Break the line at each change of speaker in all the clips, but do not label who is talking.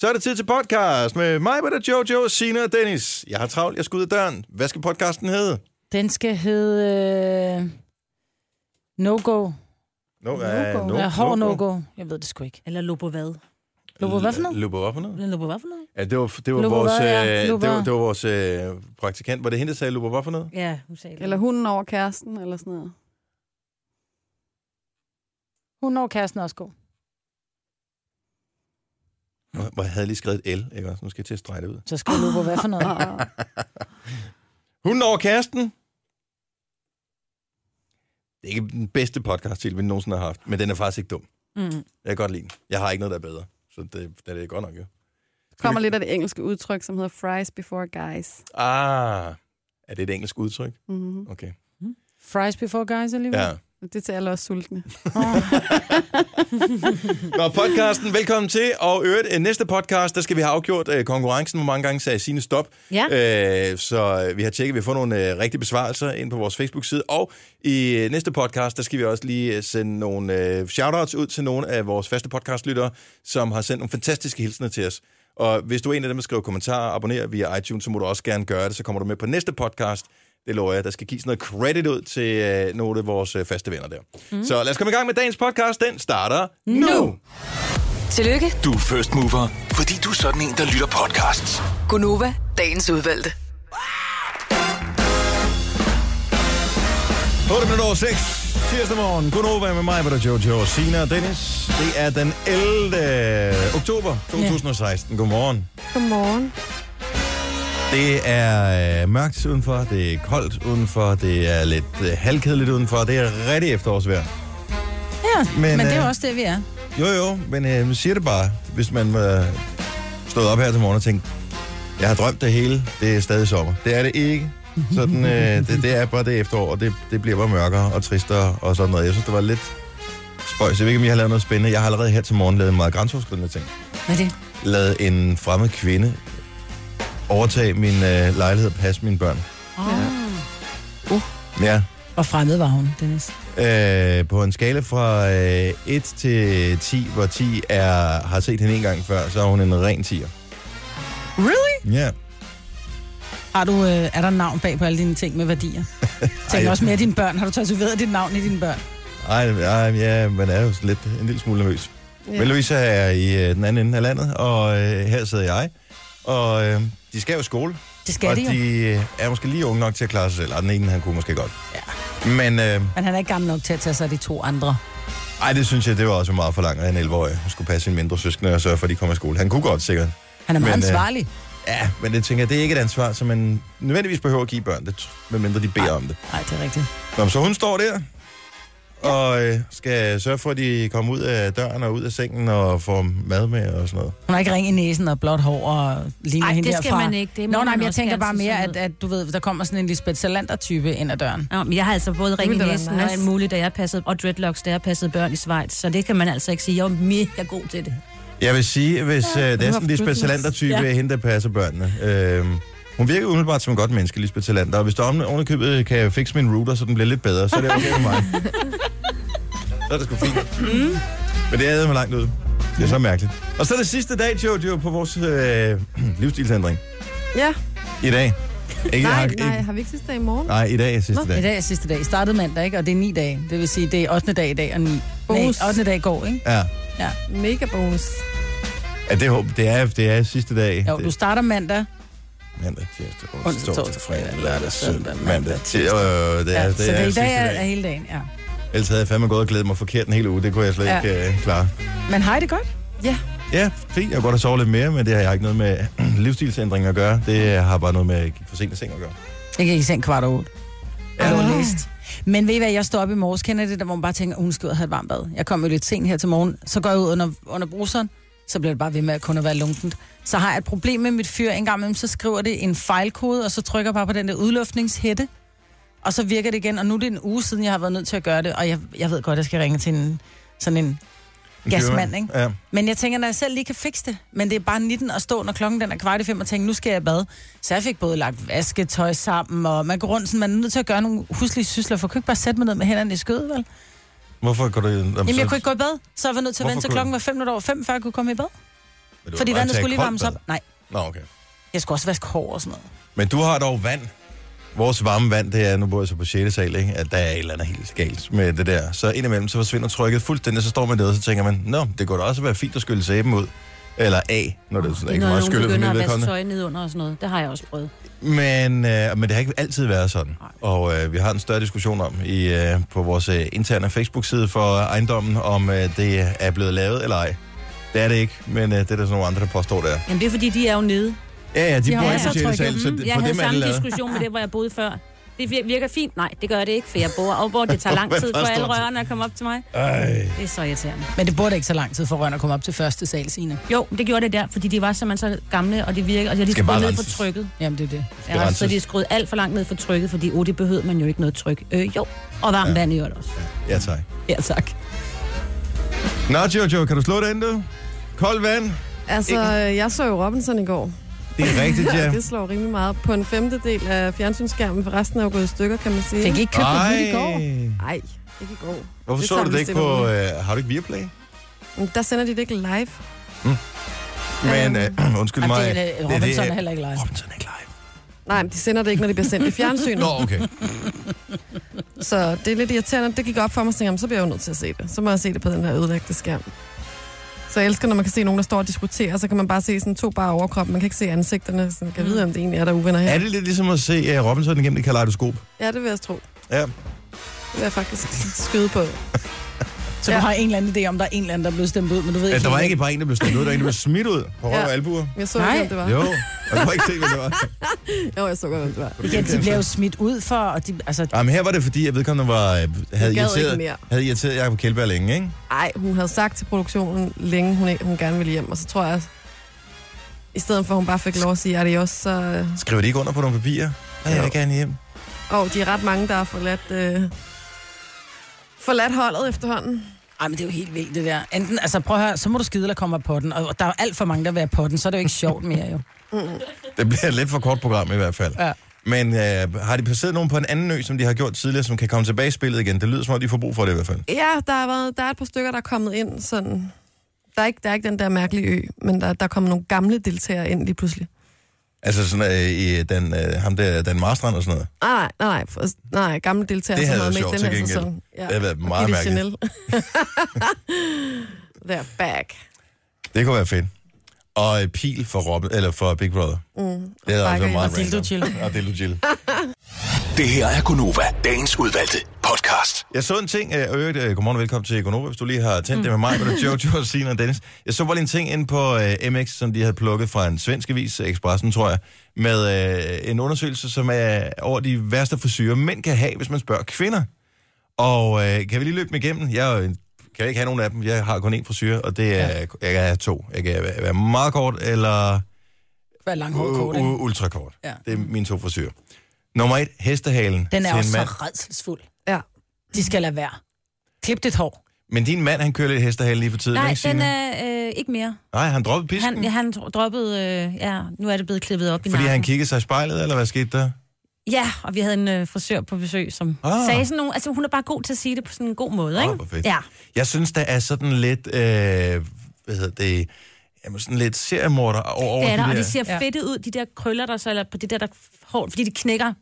Så er det tid til podcast med mig, med Jojo, Sina og Dennis. Jeg har travlt, jeg skal ud af døren. Hvad skal podcasten hedde?
Den skal hedde... Øh, no-go.
No, uh,
No-go.
no,
Oh, ja, hård no-go. Jeg ved det sgu ikke.
Eller Lobo hvad?
Lupo, hvad for noget?
Lupo, hvad for noget?
Eller Lobo hvad for noget?
Ja, det var, det var
Lupo,
vores,
hvad, ja.
øh, det
Lupo.
var, det var vores øh, praktikant. Var det hende, der sagde Lupo, hvad for noget?
Ja, hun sagde det.
Eller hunden over kæresten, eller sådan noget.
Hun når kæresten er også god.
Hvor- Hvor jeg havde lige skrevet et L, ikke også? Nu skal jeg til at strege det ud.
Så skal Lupo hvad for noget?
Ah, ah.
Hunden over kæresten. Det er ikke den bedste podcast til, vi nogensinde har haft, men den er faktisk ikke dum.
Mm.
Jeg kan godt lide den. Jeg har ikke noget, der er bedre. Så det, det er det godt nok, jo.
Kommer lidt af det engelske udtryk, som hedder fries before guys.
Ah, er det et engelsk udtryk?
Mm-hmm.
Okay.
Fries before guys alligevel?
Ja.
Det til alle os sultne.
Nå, podcasten, velkommen til. Og i øvrigt, øh, næste podcast, der skal vi have afgjort øh, konkurrencen. Hvor mange gange sagde Signe stop?
Ja.
Øh, så øh, vi har tjekket, vi har fået nogle øh, rigtige besvarelser ind på vores Facebook-side. Og i øh, næste podcast, der skal vi også lige øh, sende nogle øh, shoutouts ud til nogle af vores faste podcastlyttere, som har sendt nogle fantastiske hilsener til os. Og hvis du er en af dem, der skriver kommentarer og abonnerer via iTunes, så må du også gerne gøre det, så kommer du med på næste podcast. Det lover jeg. Der skal gives noget credit ud til øh, nogle af vores øh, faste venner der. Mm. Så lad os komme i gang med dagens podcast. Den starter nu! nu.
Tillykke,
Du er first mover, fordi du er sådan en, der lytter podcasts.
Gunova, dagens udvalgte.
8 minutter over 6. Tirsdag morgen. Godnova med mig, Peter Jojo, Sina og Dennis. Det er den 11. oktober 2016. Godmorgen.
Godmorgen.
Det er øh, mørkt udenfor, det er koldt udenfor, det er lidt øh, halvkedeligt udenfor. Det er rigtig efterårsvejr.
ja.
Men,
Men, men det er
øh,
jo også det, vi er.
Jo, jo, men øh, man siger det bare, hvis man øh, stod op her til morgen og tænkte, jeg har drømt det hele, det er stadig sommer. Det er det ikke. Sådan, øh, det, det er bare det efterår, og det, det bliver bare mørkere og tristere og sådan noget. Jeg synes, det var lidt spøjs. Jeg ved ikke, om jeg har lavet noget spændende. Jeg har allerede her til morgen lavet en meget grænseoverskridende ting.
Hvad er det?
Lavet en fremmed kvinde overtage min øh, lejlighed og passe mine børn.
Ah.
Ja.
Hvor fremmed var hun, Dennis?
Øh, på en skala fra øh, 1 til 10, hvor 10 er, har set hende en gang før, så er hun en ren 10'er.
Really?
Ja.
Har du, øh, er der navn bag på alle dine ting med værdier? Tænk
Ej.
også mere dine børn. Har du tatoveret dit navn i dine børn?
Ej, ej, ja, man er jo sådan lidt en lille smule nervøs. Ja. Men Louise er i øh, den anden ende af landet, og øh, her sidder jeg. Og øh, de skal jo i skole,
Det skal
og
det jo.
de øh, er måske lige unge nok til at klare sig selv. Ej, den ene, han kunne måske godt. Ja. Men øh,
Men han er ikke gammel nok til at tage sig af de to andre.
ej, det synes jeg, det var også meget for langt af en 11-årig. Hun skulle passe sine mindre søskende og sørge for, at de kom i skole. Han kunne godt sikkert.
Han er meget
Men, øh,
ansvarlig.
Ja, men det tænker jeg, det er ikke et ansvar, som man nødvendigvis behøver at give børn, det, tr- medmindre de beder om det.
Nej, det er rigtigt.
Nå, så hun står der og øh, skal sørge for, at de kommer ud af døren og ud af sengen og får mad med og sådan noget.
Hun har ikke ring i næsen og blåt hår og ligner
Ej,
hende
det skal
derfra.
man ikke. Det må
Nå, nej,
man
men jeg
også
tænker
gerne
bare
til
mere, at,
sundhed.
at, du ved, der kommer sådan en Lisbeth Salander-type ind ad døren.
Nå, men jeg har altså både ringe i
ville da være
næsen
nice.
og alt muligt, da jeg passede, og dreadlocks, da jeg passede børn i Schweiz. Så det kan man altså ikke sige. Jeg er mega god til det.
Jeg vil sige, hvis øh, det er
har
sådan en Lisbeth
flyttet os.
Salander-type,
Ja.
ja. hende, der passer børnene. Øh, hun virker umiddelbart som en godt menneske, Lisbeth Salander, og hvis der oven- ovenikøbet kan jeg fikse min router, så den bliver lidt bedre, så er det okay for mig. så er det sgu fint. Mm. Men det er mig langt ud. Det er så mærkeligt. Og så er det sidste dag, Jojo, på vores øh, livsstilsændring.
Ja.
I dag. Ikke,
Nej,
har- ikke-
nej, har vi ikke sidste dag i morgen?
Nej, i dag er sidste
Nå,
I
dag.
dag er sidste dag. I startede mandag, ikke? Og det er ni dage. Det vil sige, det er 8. dag i dag og ni.
Bonus.
Nej, 8. dag i går, ikke?
Ja.
Mega bonus.
ja det, håber- det, er, det er sidste dag.
Jo,
Det-
du starter mandag.
Mandag, tirsdag,
Onsdag,
onsdag, torsdag,
torsdag,
fredag,
fredag,
lørdag, søndag, mandag,
mandag,
tirsdag. Øh, det er,
Ja,
det
så
er,
det er i
sidste
dag er,
dag.
er hele dagen, ja.
Ellers havde jeg fandme gået og glædet mig forkert en hel uge. Det kunne jeg slet
Ja.
ikke øh, klare.
Men har I det godt?
Ja, fint. Jeg kunne godt have sovet lidt mere, men det har jeg ikke noget med livsstilsændring at gøre. Det har bare noget med at gik for sent i seng at gøre.
Jeg gik i seng kvart over otte.
Ja.
Ja. Jeg læst. Men ved I hvad, jeg står op i morges, kender I det, der hvor man bare tænker, hun skal ud og have et varmt bad. Jeg kom jo lidt sent her til morgen, så går jeg ud under, under bruseren, så bliver det bare ved med at kun at være lunkent. Så har jeg et problem med mit fyr en gang imellem, så skriver det en fejlkode, og så trykker jeg bare på den der udluftningshætte, og så virker det igen, og nu er det en uge siden, jeg har været nødt til at gøre det, og jeg, jeg ved godt, jeg skal ringe til en, sådan en
En
gasmand,
købmand.
ikke?
Ja.
Men jeg tænker, når jeg selv lige kan fikse det, men det er bare 19 at stå, når klokken den er kvart i fem, og tænke, nu skal jeg i bad. Så jeg fik både lagt vasketøj sammen, og man går rundt, sådan, man er nødt til at gøre nogle huslige sysler, for jeg kunne ikke bare sætte mig ned med hænderne i skødet, vel?
Hvorfor går du...
Jamen, jeg kunne ikke gå i bad, så jeg var nødt til at
Hvorfor
vente til
kunne du-
klokken var fem minutter over fem, før jeg kunne komme i bad.
Men du
Fordi
var bare
vandet
til at
skulle lige
koldt
varmes op.
bad.
Nej,
Nå, okay.
jeg skulle også vaske hår og sådan noget.
Men du har dog vand. Vores varme vand, det er, nu bor jeg så på 6. sal, ikke? at der er et eller andet helt galt med det der. Så indimellem, så forsvinder trykket fuldstændig, så står man der, og så tænker man, nå, det kunne da også være fint at skylle sæben ud. Eller af, når det er sådan, ikke
Når
meget
nogen
skyllet for
begynder
mit
at vaske
vedkommende.
tøj ned under og sådan noget. Det har jeg også prøvet.
Men, øh, men det har ikke altid været sådan. Og øh, vi har en større diskussion om i, øh, på vores øh, interne Facebook-side for ejendommen, om øh, det er blevet lavet eller ej. Det er det ikke, men øh, det er der sådan nogle andre, der påstår det er.
Jamen det er fordi, de er jo nede.
Ja, ja, de,
De har
bor i
også
på 6.
trykket.
sal, så det,
jeg
for
havde
dem er det
samme
lavet.
diskussion med det, hvor jeg boede før. Det vir- virker fint. Nej, det gør det ikke, for jeg bor og hvor det tager lang tid for
Hvad
alle
forstår du?
rørene at komme op til mig.
Ej.
Det er så irriterende.
Men det burde ikke så lang tid for røren at komme op til første sal, Signe.
Jo, men det gjorde det der, fordi de var simpelthen så gamle, og det virker, og jeg lige
Skal bare
skruede ned på
renses.
trykket.
Jamen, det er det.
Skal
Ja, så
renses.
de skruede alt for langt ned for trykket, fordi oh, det behøvede man jo ikke noget tryk. Øh, jo, og varmt vand i øvrigt også.
Ja, tak.
Ja, tak.
Nå, Jojo, kan du slå det ind, du? Koldt vand.
Altså, jeg så jo Robinson i går.
Det er rigtigt, ja.
Ja. Det slår rimelig meget op. på en femtedel af fjernsynsskærmen, for resten er jo gået i stykker, kan man sige.
Fik I ikke købt det nyt i går?
Nej, ikke i går.
Hvorfor
Det
så
tager
du
vi
det ikke
stille og
på... Øh, har du ikke Viaplay?
Men Der sender de det ikke live.
Men øh, undskyld
Jamen,
mig.
det er, Robinson er heller ikke live.
Robinson er ikke live.
Nej, men de sender det ikke, når det bliver sendt i fjernsynet.
Nå, okay.
Så det er lidt irriterende. Det gik op for mig, så tænkte jeg, "Jamen, så bliver jeg jo nødt til at se det. Så må jeg se det på den her ødelagte skærm. Så jeg elsker, når man kan se nogen, der står og diskuterer, så kan man bare se sådan to bare overkrop. Man kan ikke se ansigterne. Sådan, kan jeg vide, om det egentlig er, der er uvenner her.
Er det lidt ligesom at se uh, Robinson igennem et kaleidoskop?
Ja, det vil jeg tro.
Ja.
Det vil jeg faktisk skyde på.
Så du
Ja.
har en eller anden idé om, der er en eller anden, der er blevet stemt ud, men du ved
Altså,
ikke...
der var
helt,
ikke bare en, der blev smidt ud, der var en, der blev smidt ud på røv
Ja.
og albuer.
Jeg så ikke,
Nej.
om det var.
Jo, og du har ikke set, hvad det var.
jo jeg så godt, om det var.
hvad- Ja, de bliver jo smidt ud for, og de, altså,
Jamen, her var det, fordi jeg vedkommende var, øh, havde,
ikke
irriteret,
mere.
havde irriteret Jacob Kjeldberg længe, ikke?
Nej, hun havde sagt til produktionen længe, hun, ikke, hun gerne ville hjem, og så tror jeg, at i stedet for, at hun bare fik lov at sige adios, så... øh,
Skriver de ikke under på nogle papirer? Ja, jeg vil gerne hjem.
Åh, oh, de er ret mange, der har forladt, øh, forladt holdet efterhånden.
ej, men det er jo helt vildt, det der. Enten, altså, prøv at høre, så må du skide eller komme af potten, og og der er jo alt for mange, der vil af potten, så er det jo ikke sjovt mere, jo.
Det bliver et lidt for kort program i hvert fald.
Ja.
Men øh, har de placeret nogen på en anden ø, som de har gjort tidligere, som kan komme tilbage i spillet igen? Det lyder som om, de får brug for det i hvert fald.
Ja, der, har været, der er et par stykker, der er kommet ind sådan... Der er ikke, der er ikke den der mærkelige ø, men der, der er kommet nogle gamle deltagere ind lige pludselig.
Altså sådan øh, i den, øh, ham der, Dan Marstrand og sådan noget.
Ah, nej, nej, nej, for, nej, gamle deltagere,
Det
som
havde
havde
været
med
sjovt
i den
til
her
gengæld.
sæson. Ja.
Det havde været
Og
meget
Gitte
mærkeligt.
Chanel. They're back.
Det kunne være fedt. Og øh, pil for, Robin, eller for Big Brother. Mm, det er også
bakker
været
i.
meget
Og
Dildo Jill.
random. Og Dildo Jill.
Det her er Gunova, dagens udvalgte podcast.
Jeg så en ting, øh, og i øvrigt, øh, godmorgen og velkommen til Gonova, hvis du lige har tændt det med mig, med Jojo, Signe og Dennis. Jeg så bare lige en ting ind på øh, MX, som de havde plukket fra en svensk avis, øh, Expressen tror jeg, med øh, en undersøgelse, som er over de værste frisyrer, mænd kan have, hvis man spørger kvinder. Og øh, kan vi lige løbe dem igennem? Jeg er jo en- kan ikke have nogen af dem. Jeg har kun én frisyr, og det er, jeg kan have to. Jeg kan være være meget kort eller
Hvad lang hårdkort,
u-
ikke?
u- ultrakort.
Ja.
Det er mine to frisyrer. Nummer et, hestehalen
Den
til
er
en
også så
mand.
redselsfuld.
Ja.
De skal lade være. Klip dit hår.
Men din mand, han kører lidt hestehale lige for tiden,
Nej,
ikke, Signe?
den er øh, ikke mere.
Nej, han droppede pisken,
Han,
han,
ja,
ja,
han dro- droppede, øh, ja, nu er det blevet klippet op i
fordi
nakken.
han kiggede sig i spejlet, eller hvad skete der?
Ja, og vi havde en øh, frisør på besøg, som
Ah.
ah. sagde sådan nogle... Altså, hun er bare god til at sige det på sådan en god måde,
Ah,
ikke?
hvor fedt.
Ja.
Jeg synes, der er sådan lidt, øh, hvad hedder det, jamen sådan lidt seriemorder over, over
Det er der,
de
og
der.
det ser
Ja.
ja. fedtet ud, de der krøller, der så, eller på det der, der hår, fordi de knækker.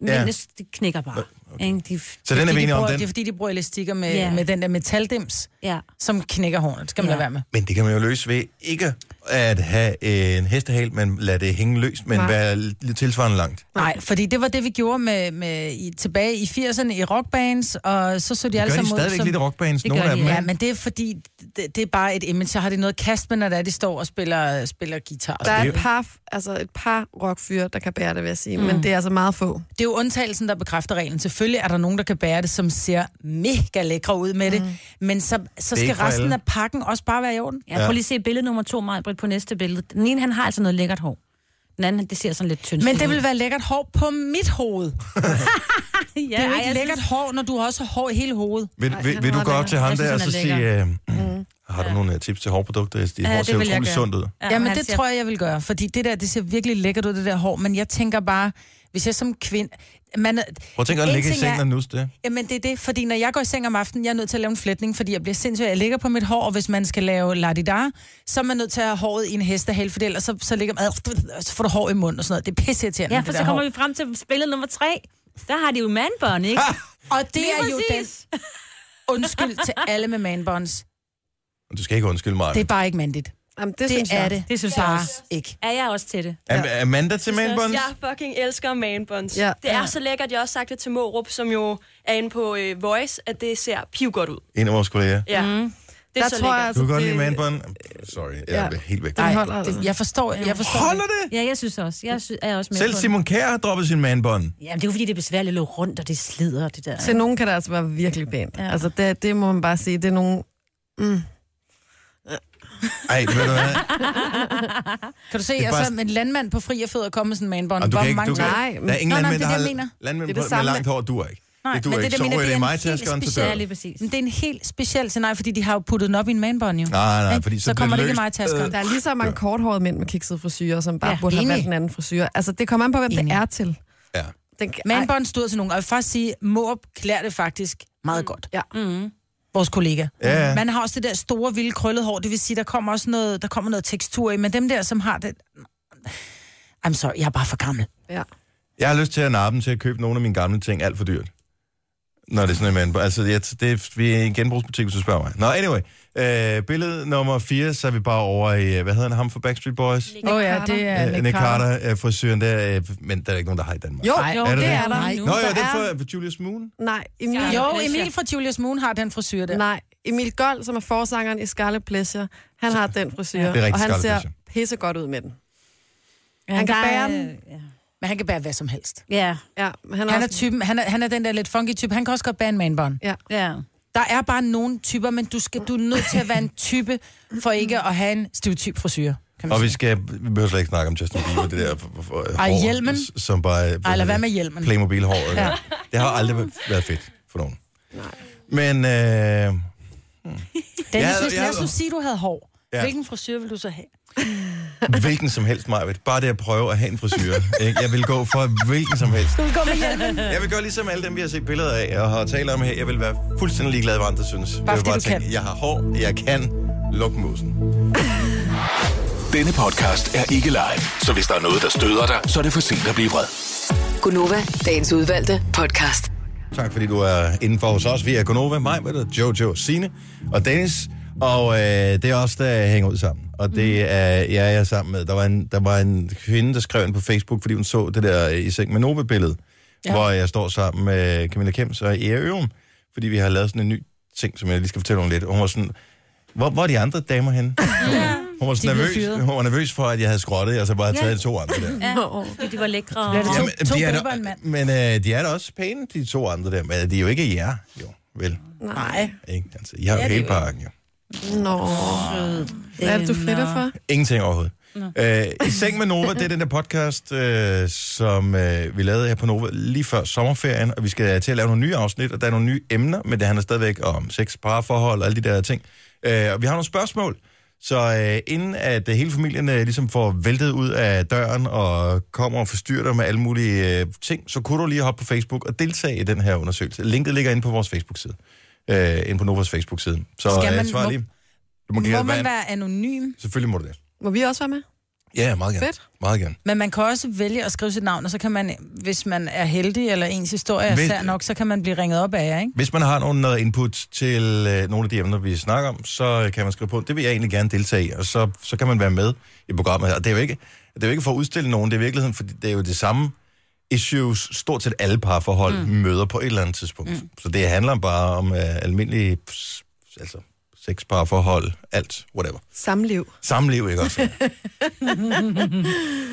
Men
Ja. Øh,
ja. det knækker bare. Okay. Ikke? De,
Så den er vi
Fordi de
enige om,
bruger,
den.
det er fordi, de bruger elastikker med,
Ja.
med den der metaldims,
ja.
som knækker hårene. Det skal man
Ja.
lade være med.
Men det kan man jo løse ved ikke at have en hestehal, men lad det hænge løst, men
Nej.
være lidt tilsvarende langt.
Nej, fordi det var det, vi gjorde med, med i, tilbage i 80'erne i rockbands, og så så de alle
Gør de
sammen ud
stadigvæk
som...
lidt rockbands,
altså Det
nogle
gør
af
de,
dem?
Ja,
ikke?
men det er fordi, det, det er bare et image. Så har de noget kast med, når det er, de står og spiller, spiller guitar.
Der
Der.
er et par, altså et par rockfyre, der kan bære det, vil jeg sige. Mm. Men det er altså meget få.
Det er jo undtagelsen, der bekræfter reglen. Selvfølgelig er der nogen, der kan bære det, som ser mega lækre ud med det. Men så, så
ikke
skal
for
resten
alle.
af pakken også bare være i orden.
Mm. ja. Prøv lige at se billede nummer to, Majbrit, på næste billede. Den ene, han har altså noget lækkert hår. Den anden, det ser sådan lidt tyndt
Men det vil være lækkert hår på mit hoved.
være, ja,
Det er jo
ej,
ikke
jeg
lækkert hår, når du også har hår i hele hovedet.
Vil,
Ej,
vil,
han
vil
er
du
meget
gå op
lækker.
til ham
Jeg synes,
der og
han
så
er
sige, øh, har du nogle øh, tips til hårprodukter? Dit hår
Mm. det
ser
vil jeg
utrolig
gøre.
sundt ud.
Ja, Jamen, det tror jeg, jeg vil gøre, fordi det der, det ser virkelig lækkert ud, det der hår, men jeg tænker bare, Hvis jeg som kvinde... Man, er-
Prøv at tænke at
en
ligge i
ting
sengen og nusse det.
Jamen det er det, fordi når jeg går i seng om aftenen, jeg er nødt til at lave en flætning, fordi jeg bliver sindssyg. Jeg ligger på mit hår, og hvis man skal lave ladidar, så er man nødt til at have håret i en hestehale, for ellers så, så, ligger man, og så får du hår i munden og sådan noget. Det er pisseirriterende,
Ja,
det
for
der
så kommer
hår.
vi frem til spillet nummer tre. Der har de jo mandbørn, ikke?
Og det er jo den undskyld til alle med manbånds.
Du skal ikke undskylde mig.
Det er bare ikke mandigt.
Jamen, det,
Det,
synes
det er
jeg.
det.
Det synes jeg
bare
også.
ikke.
Er jeg også til det?
Am- Amanda til manbånds?
Jeg fucking elsker manbånds.
Ja.
Ja. Det er så lækkert. Jeg har også sagt det til Morup, som jo er inde på øh, Voice, at det ser piv godt ud.
En af vores kolleger.
Ja. Mm. Det er
Der
så
tror jeg,
lækkert.
Du
altså,
kan godt
det-
lide manbånd? Sorry, jeg er helt væk.
Den
Ej,
holder altså.
det, jeg forstår, jeg forstår
Holder det?
Ja, jeg synes også. Jeg synes, er jeg også med
Selv
på den.
Simon Kjær har droppet sin manbånd.
Jamen, det er jo fordi, det er besværligt at løbe rundt, og det slider, og det der.
Til nogen kan det altså være virkelig pænt.
Ja.
Ja. Altså, det, det må man bare sige. Det er nogen...
Ej, ved du hvad?
Kan du se,
er
jeg
bare-
så en landmand på fri og fødder komme med sådan en manbånd?
Jamen, du
Hvor
kan ikke,
mange
du kan,
gange-
Nej,
der er ingen
men- Nå, nej,
landmænd, der
det er
har
det, jeg mener.
landmænd
Det er
på, med
det samme.
langt hår, du er ikke.
Nej,
det du
men
ikke.
det,
så
jeg mener,
ryger det i
det er en
mig
helt
taskeren til
Ja,
døren.
lige præcis.
Men det er en helt speciel scenarie, fordi de har jo puttet den op i en manbånd jo.
Nej, nej,
Ikke?
fordi så,
så
bliver
kommer det
det
ikke i mig
løst. Øh,
taskeren.
Der er lige så mange korthårede mænd med kiksede frisyrer, som bare
Ja,
ja, burde have
enig.
valgt en anden frisyr. Altså, det kommer an på, hvem enig. det
Enig.
er til.
Ja.
Den, kan- ej,
Manbånd stod til nogen, og jeg vil faktisk sige, Måb klæder det faktisk meget godt.
Ja.
Vores kollega.
Ja, ja.
Man har også det der store, vilde, krøllede hår, det vil sige, der kommer også noget, der kommer noget tekstur i, men dem der, som har det... I'm sorry, jeg er bare for gammel.
ja.
Jeg har lyst til at nappe dem til at købe nogle af mine gamle ting alt for dyrt. Når det er sådan en mand. Altså, jeg, det er, vi er i en genbrugsbutik, hvis du spørger mig. Nå, anyway. Øh, billede nummer 4, så er vi bare over i, øh, hvad hedder han, ham fra Backstreet Boys?
Åh oh, ja, det
Øh, Nick Carter, øh, frisøren der, øh, men der er ikke nogen, der har i Danmark.
Jo,
Ej,
jo
er det
det, det
det?
er der.
Nej.
nu.
Nå jo,
Der
det
er-
er for Julius Moon.
Nej, Emil,
Ja.
jo.
Jo, Emil fra Julius Moon har den frisyr der.
nej. Emil Gold, som er forsangeren i Scarlet Pleasure, han har den frisyr,
er rigtig
og han
Scarlet
ser
Pleasure.
pissegodt ud med den.
Ja,
Han kan
der er-
bære den.
Men han kan bære hvad som helst.
Ja,
Ja, men han er,
Han er,
også,
typen, han, er, han er den der lidt funky type. Han kan også godt bære en manbånd.
ja.
ja.
Der er bare nogle typer, men du, skal, du er nødt til at være en type, for ikke at have en stereotyp frisyr. Kan man
Og vi,
sige.
skal, vi behøver slet ikke snakke om Justin Bieber, det der for, for,
Ej,
hår,
hjelmen?
s- som bare...
Ej, lad være med hjelmen.
Playmobil-håret. Ja. Det har aldrig væ- været fedt for nogen. Nej. Men... Øh,
Dennis,
Ja,
hvis
ja.
lad os nu sige, du havde hår.
Ja.
Ja. Hvilken frisyr vil du så have?
Hvilken som helst, Majved. Bare det at prøve at have en frisyr. ikke? Jeg vil gå for hvilken som helst.
Du vil gå med hjelmen.
Jeg vil gøre ligesom alle dem, vi har set billeder af og har talt om her. Jeg vil være fuldstændig ligeglad, hvad andre synes. jeg vil
fordi
bare
du kan.
jeg har hår, jeg kan. Luk musen.
Denne podcast er ikke live, så hvis der er noget, der støder dig, så er det for sent at blive vred.
Gunova, dagens udvalgte podcast.
Tak fordi du er indenfor hos os. Vi er Gonova, mig, hvad der Jojo, Sine og Dennis. Og øh, det er os, der hænger ud sammen. Og det er jeg, jeg er sammen med. Der var, en, der var en kvinde, der skrev ind på Facebook, fordi hun så det der øh, i seng med Nova-billede, ja. hvor jeg står sammen med Camilla Kems og Ea Ørum, fordi vi har lavet sådan en ny ting, som jeg lige skal fortælle om lidt. Og Hun var sådan, hvor, hvor er de andre damer henne? Hun var, sådan
blev
nervøs,
fyret.
hun var nervøs for, at jeg havde skrottet, og så bare havde taget de to andre der.
ja. Fordi de var lækre. Og...
Bliver det
Jamen,
to
de er
grupper,
da-
en mand.
Men øh, de er da også pæne, de to andre der. Men de er jo ikke jer, jo. Vel,
Nej.
ikke? Altså, I har jo hele pakken, jo.
Nå. Hvad er det, du flytter for?
Ingenting overhovedet. Øh, I seng med Nova, det er den der podcast, øh, som øh, vi lavede her på Nova lige før sommerferien, og vi skal til at lave nogle nye afsnit, og der er nogle nye emner, men det handler stadigvæk om sex, parforhold og alle de der ting. Øh, og vi har nogle spørgsmål, så øh, inden at øh, hele familien øh, ligesom får væltet ud af døren og kommer og forstyrrer dig med alle mulige øh, ting, så kunne du lige hoppe på Facebook og deltage i den her undersøgelse. Linket ligger inde på vores Facebook-side. Øh, inde på Novas Facebook-side. Så
Skal
øh,
man-
svar
må-
lige. Du må,
Må
gerne være
man
en-
være anonym,
Selvfølgelig må du det.
Må vi også være med?
Ja, meget gerne.
Fedt.
Meget gerne.
men man kan også vælge at skrive sit navn, og så kan man, hvis man er heldig, eller ens historie er
Hvis-
sær nok, så kan man blive ringet op af jer, ikke?
Hvis man har nogen noget input til øh, nogle af de emner, vi snakker om, så øh, kan man skrive på, det vil jeg egentlig gerne deltage i, og så, så kan man være med i programmet her. Og det er jo ikke, det er jo ikke for at udstille nogen, det er i virkeligheden, for det er jo det samme issues, stort set alle parforhold mm. møder på et eller andet tidspunkt. Mm. Så det handler bare om øh, almindelige s- altså, sexparforhold, alt, whatever.
Samliv.
Samliv, ikke også?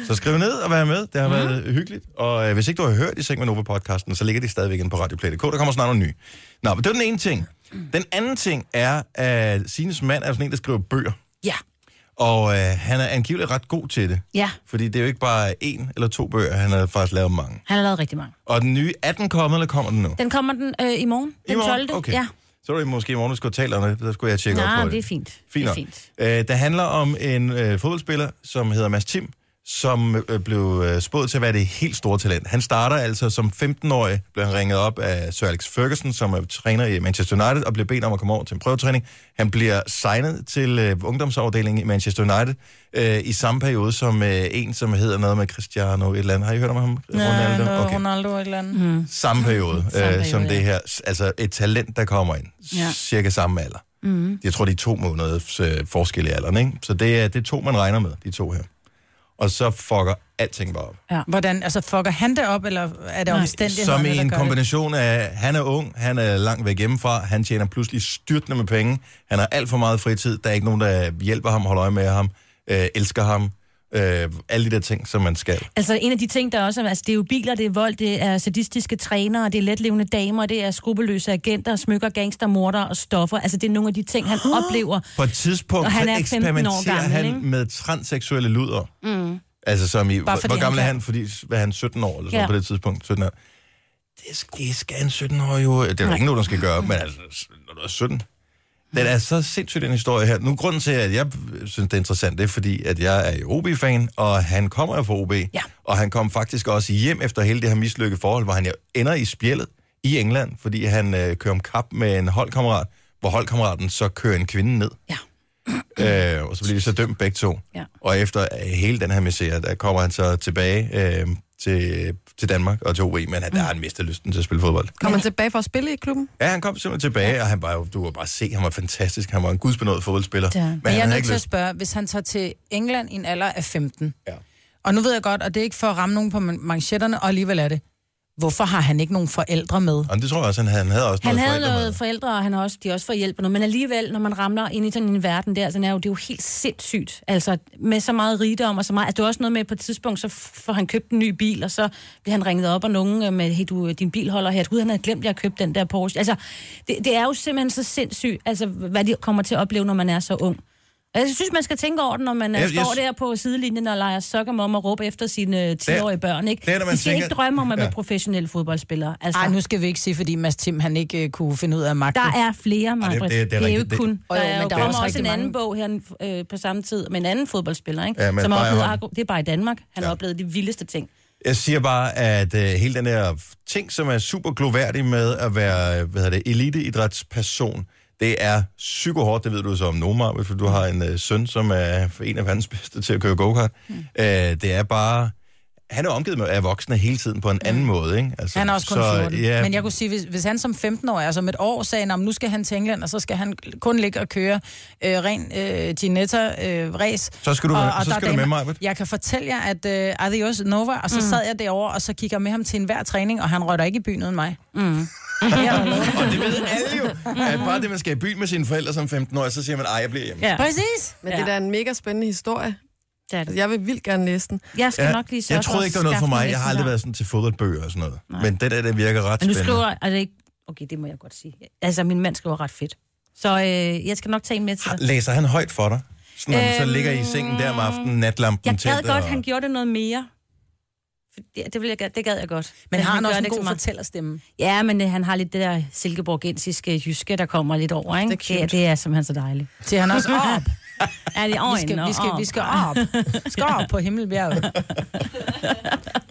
så skriv ned og vær med. Det har været hyggeligt. Og øh, hvis ikke du har hørt i Seng med Nova podcasten, så ligger de stadigvæk inde på radioplay.dk. Der kommer snart noget ny. Nå, men det var den ene ting. Den anden ting er, at Sines mand er sådan en, der skriver bøger.
Ja.
Og øh, han er angiveligt ret god til det.
Ja,
Fordi det er jo ikke bare en eller to bøger, han har faktisk lavet mange.
han har lavet rigtig mange.
Og den nye, er den kommet, eller kommer den nu?
Den kommer den øh, i morgen. Den
I morgen?
12.
Okay.
Ja.
Så er det måske i morgen, du skulle tale om det. Der skulle jeg tjekke op på
Nej,
det.
det er fint.
Fint
Det
nok.
er fint.
Øh, det handler om en øh, fodboldspiller, som hedder Mads Tim, som øh, blev øh, spået til at være det helt store talent. Han starter altså som 15-årig, blev han ringet op af Sir Alex Ferguson, som er træner i Manchester United, og blev bedt om at komme over til en prøvetræning. Han bliver signet til øh, ungdomsafdelingen i Manchester United øh, i samme periode som øh, en, som hedder noget med Cristiano et eller andet. Har I hørt om ham? Ronaldo?
Ronaldo, okay. Ronaldo et eller andet. Mm.
Samme periode, samme periode øh, som
periode,
det
ja.
her. S- Altså et talent, der kommer ind. Ja.
Ja. Mhm.
Cirka samme alder. Mm. Jeg tror, de er to måneders øh, forskel i alderen, ikke? Så det er, det er to, man regner med, de to her. Og så fucker alting bare op.
Ja. Hvordan, altså fucker han det op, eller er det
Som
omstændighederne,
i en
Altså, der gør det?
kombination af, han er ung, han er langt væk hjemmefra, han tjener pludselig styrtende med penge, han har alt for meget fritid, der er ikke nogen, der hjælper ham, holder øje med ham, øh, elsker ham, øh, alle de der ting, som man skal.
Altså en af de ting, der også er, altså det er jo biler, det er vold, det er sadistiske trænere, det er letlevende damer, det er skrupelløse agenter, smykker, gangster, morder og stoffer. Altså det er nogle af de ting, han oplever.
På et tidspunkt,
Og han
så
er 15 år
eksperimenterer
gammel,
han
ikke?
med transseksuelle luder. Mm. Altså som i, hvor,
fordi
hvor
han
gammel er
kan.
han? Fordi hvad er han 17 år eller sådan
Ja.
ja. på det tidspunkt? 17 år. Det, sk- det skal en 17-årig jo... Det er jo ikke noget, der skal gøre, men altså, s- når du er 17... Den er så sindssygt en historie her. Nu, grunden til, at jeg synes, det er interessant, det er fordi, at jeg er jo OB-fan, og han kommer jo fra OB.
Ja.
Og han kom faktisk også hjem efter hele det her mislykkede forhold, hvor han jo ender i spjældet i England, fordi han øh, kører om kap med en holdkammerat, hvor holdkammeraten så kører en kvinde ned.
Ja.
Øh, og så bliver de så dømt begge to.
Ja.
Og efter øh, hele den her misære, der kommer han så tilbage øh, til, til Danmark og til OB, men han, der har han mistet lysten til at spille fodbold.
Kommer han tilbage for at spille i klubben?
Ja, han kom simpelthen tilbage, og han var jo, du kunne bare se, han var fantastisk. Han var en gudsbenået fodboldspiller.
Ja.
Men
Men jeg
han
er
havde
nødt
ikke
til at
lyst.
spørge, hvis han tager til England i en alder af 15,
Ja.
og nu ved jeg godt, og det er ikke for at ramme nogen på man- manchetterne, og alligevel er det, hvorfor har han ikke nogen forældre med?
Og det tror jeg også, han havde. Han havde også
Han
noget
havde
forældre med.
noget forældre, og han har også, de har også fået hjælp og noget, men alligevel, når man ramler ind i sådan en verden der, så er jo, det er jo helt sindssygt, altså med så meget rigdom og så meget, altså det er også noget med, at på et tidspunkt, så får han købt en ny bil, og så bliver han ringet op af nogen øh, med, hey, du, din bil holder her, gud, han havde glemt, at jeg købte den der Porsche, altså det, det er jo simpelthen så sindssygt, altså hvad de kommer til at opleve, når man er så ung. Og Jeg synes, man skal tænke over det, når man
Ja,
jeg,
jeg
står
sy-
der på sidelinjen og leger sokkermom og råber efter sine øh, 10-årige børn. Ikke?
det er, når man
de skal
tænker-
ikke drømme om at være
Ja.
professionelle fodboldspillere. Altså,
Nej, nu skal vi ikke sige, fordi Mads Tim, han ikke øh, kunne finde ud af magten.
der er flere,
det-
Margrit.
det er
Det, det, det er jo
rigtigt.
ikke kun.
Det-
Der,
Jo, jo,
er,
men der
jo- der
er
kommer
også
også en
rigtig
anden
mange.
bog her øh, på samme tid med en anden fodboldspiller, ikke?
Ja,
Ja,
men
som har oplevet,
Bayern.
argu- det er bare i Danmark. Han har
Ja.
oplevet de vildeste ting.
Jeg siger bare, at øh, hele den her f- ting, som er super gloværdig med at være øh, hvad hedder det, eliteidrætsperson, det er psykohårdt, det ved du så om nogen, Marvitt, for du har en øh, søn, som er en af verdens bedste til at køre go-kart. Mm. Øh, det er bare... Han er omgivet med af voksne hele tiden på en anden måde, ikke? Altså,
Mm. Han er også kun
så,
14.
Ja,
Men jeg kunne sige, hvis, hvis han som 15-årig, altså om et år, sagde, at nu skal han til England, og så skal han kun ligge og køre øh, ren øh, Ginetta-race.
Så skal du med- så
der
skal
er
du med,
damer-
Maj-Brit.
Jeg kan fortælle jer, at øh, Adios Nova, og så mm. sad jeg derovre, og så gik jeg med ham til enhver træning, og han røg da ikke i byen uden mig.
og det ved alle jo, at bare det, man skal i byen med sine forældre som 15 år, så siger man, ej, jeg bliver hjemme.
Ja.
Præcis!
Men
Ja.
ja. det er da en mega spændende historie.
Det er det.
Jeg vil vildt gerne læse den.
Jeg skal nok lige sørge
jeg troede
at
ikke, det var noget for
skaffe
mig.
en
Jeg har aldrig
ekstra.
været sådan til fodboldbøger og sådan noget. Nej. Men det der, det virker ret
Men du
spændende.
skriver... Er det ikke... Okay, det må jeg godt sige. Altså, min mand skriver ret fedt. Så øh, jeg skal nok tage en med til dig.
Læser han højt for dig? Sådan, når øhm, så
Øhm,
ligger I i sengen der om aftenen, natlampen
Jeg
tændt.
gad godt,
og...
han gjorde det noget mere. For det, det, vil jeg, gad- det gad jeg godt.
Men har han
gør
også en
det ikke så
god
meget.
fortællerstemme?
Ja, men øh, han har lidt det der silkeborgensiske jyske, der kommer lidt over, ikke?
Det er cute.
det, det er simpelthen så dejligt.
Til han også op.
Er det
Vi skal, vi skal, vi skal op. Skal op på Himmelbjerget.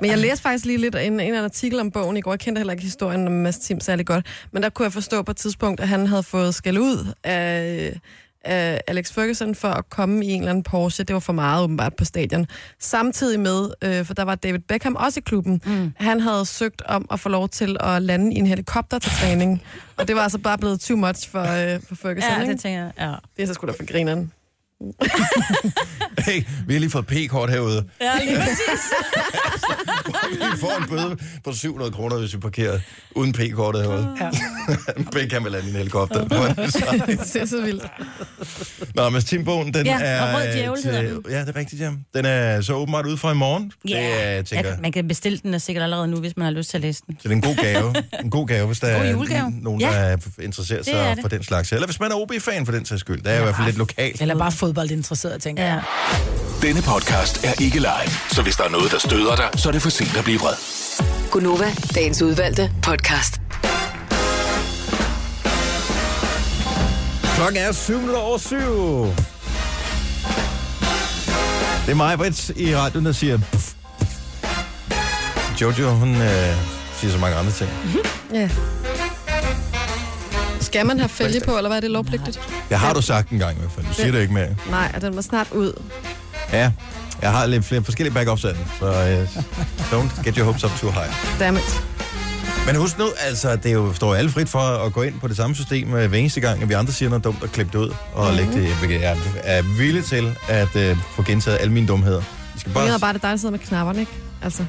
Men jeg læste faktisk lige lidt en, en artikel om bogen i går. Jeg kendte heller ikke historien om Mads Tim særlig godt. Men der kunne jeg forstå på et tidspunkt, at han havde fået skæld ud af, af Alex Ferguson for at komme i en eller anden Porsche. Det var for meget åbenbart på stadion. Samtidig med, øh, for der var David Beckham også i klubben, mm. han havde søgt om at få lov til at lande i en helikopter til træning. og det var altså bare blevet too much for, øh, for Ferguson.
Ja,
ikke?
det tænker jeg. Ja.
det er så sgu da for grineren.
Hey, vi har lige fået p-kort herude. Ja, lige præcis. vi får en bøde på 700 kroner, hvis vi parkerer uden p-kortet herude. Ja. Begge kan lande i en helikopter.
det er så vildt.
Nå, men Timbogen, den
Ja, og
er...
Rød Djævel hedder den.
Ja, det er rigtigt, ja. Den er så åbenbart ude fra i morgen. Det er, jeg tænker,
at man kan bestille den og sikkert allerede nu, hvis man har lyst til at læse den.
Så det er en god gave. En god gave, hvis der
God
er
julegave.
nogen,
Ja.
der er interesserer
Det er
sig
det.
for den slags. Eller hvis man er OB-fan for den sags skyld. Det er i hvert fald lidt lokalt.
Eller bare fodboldinteresseret, tænker jeg.
Ja.
Denne podcast er ikke live, så hvis der er noget, der støder dig, så er det for sent at blive vred.
Gunova, dagens udvalgte podcast.
Klokken er 7 over 7. Det er mig, Brits, i radioen, der siger... Puff. Jojo, hun øh, siger så mange andre ting.
Ja. Skal man have fælge på, eller hvad er det lovpligtigt?
Det har du sagt en gang i hvert fald. Du siger det ikke mere.
Nej, og den var snart ud.
Ja, jeg har lidt flere forskellige backups af den, så uh, don't get your hopes up too high.
Dammit.
Men husk nu, altså, det er jo, står alle frit for at gå ind på det samme system øh, hver eneste gang, at vi andre siger noget dumt og klippe det ud og lægge det, hvilket jeg er villig til at øh, få gentaget alle mine dumheder. Vi skal,
Det er
bare,
bare, det er dig, der sidder med knapperne, ikke? Altså,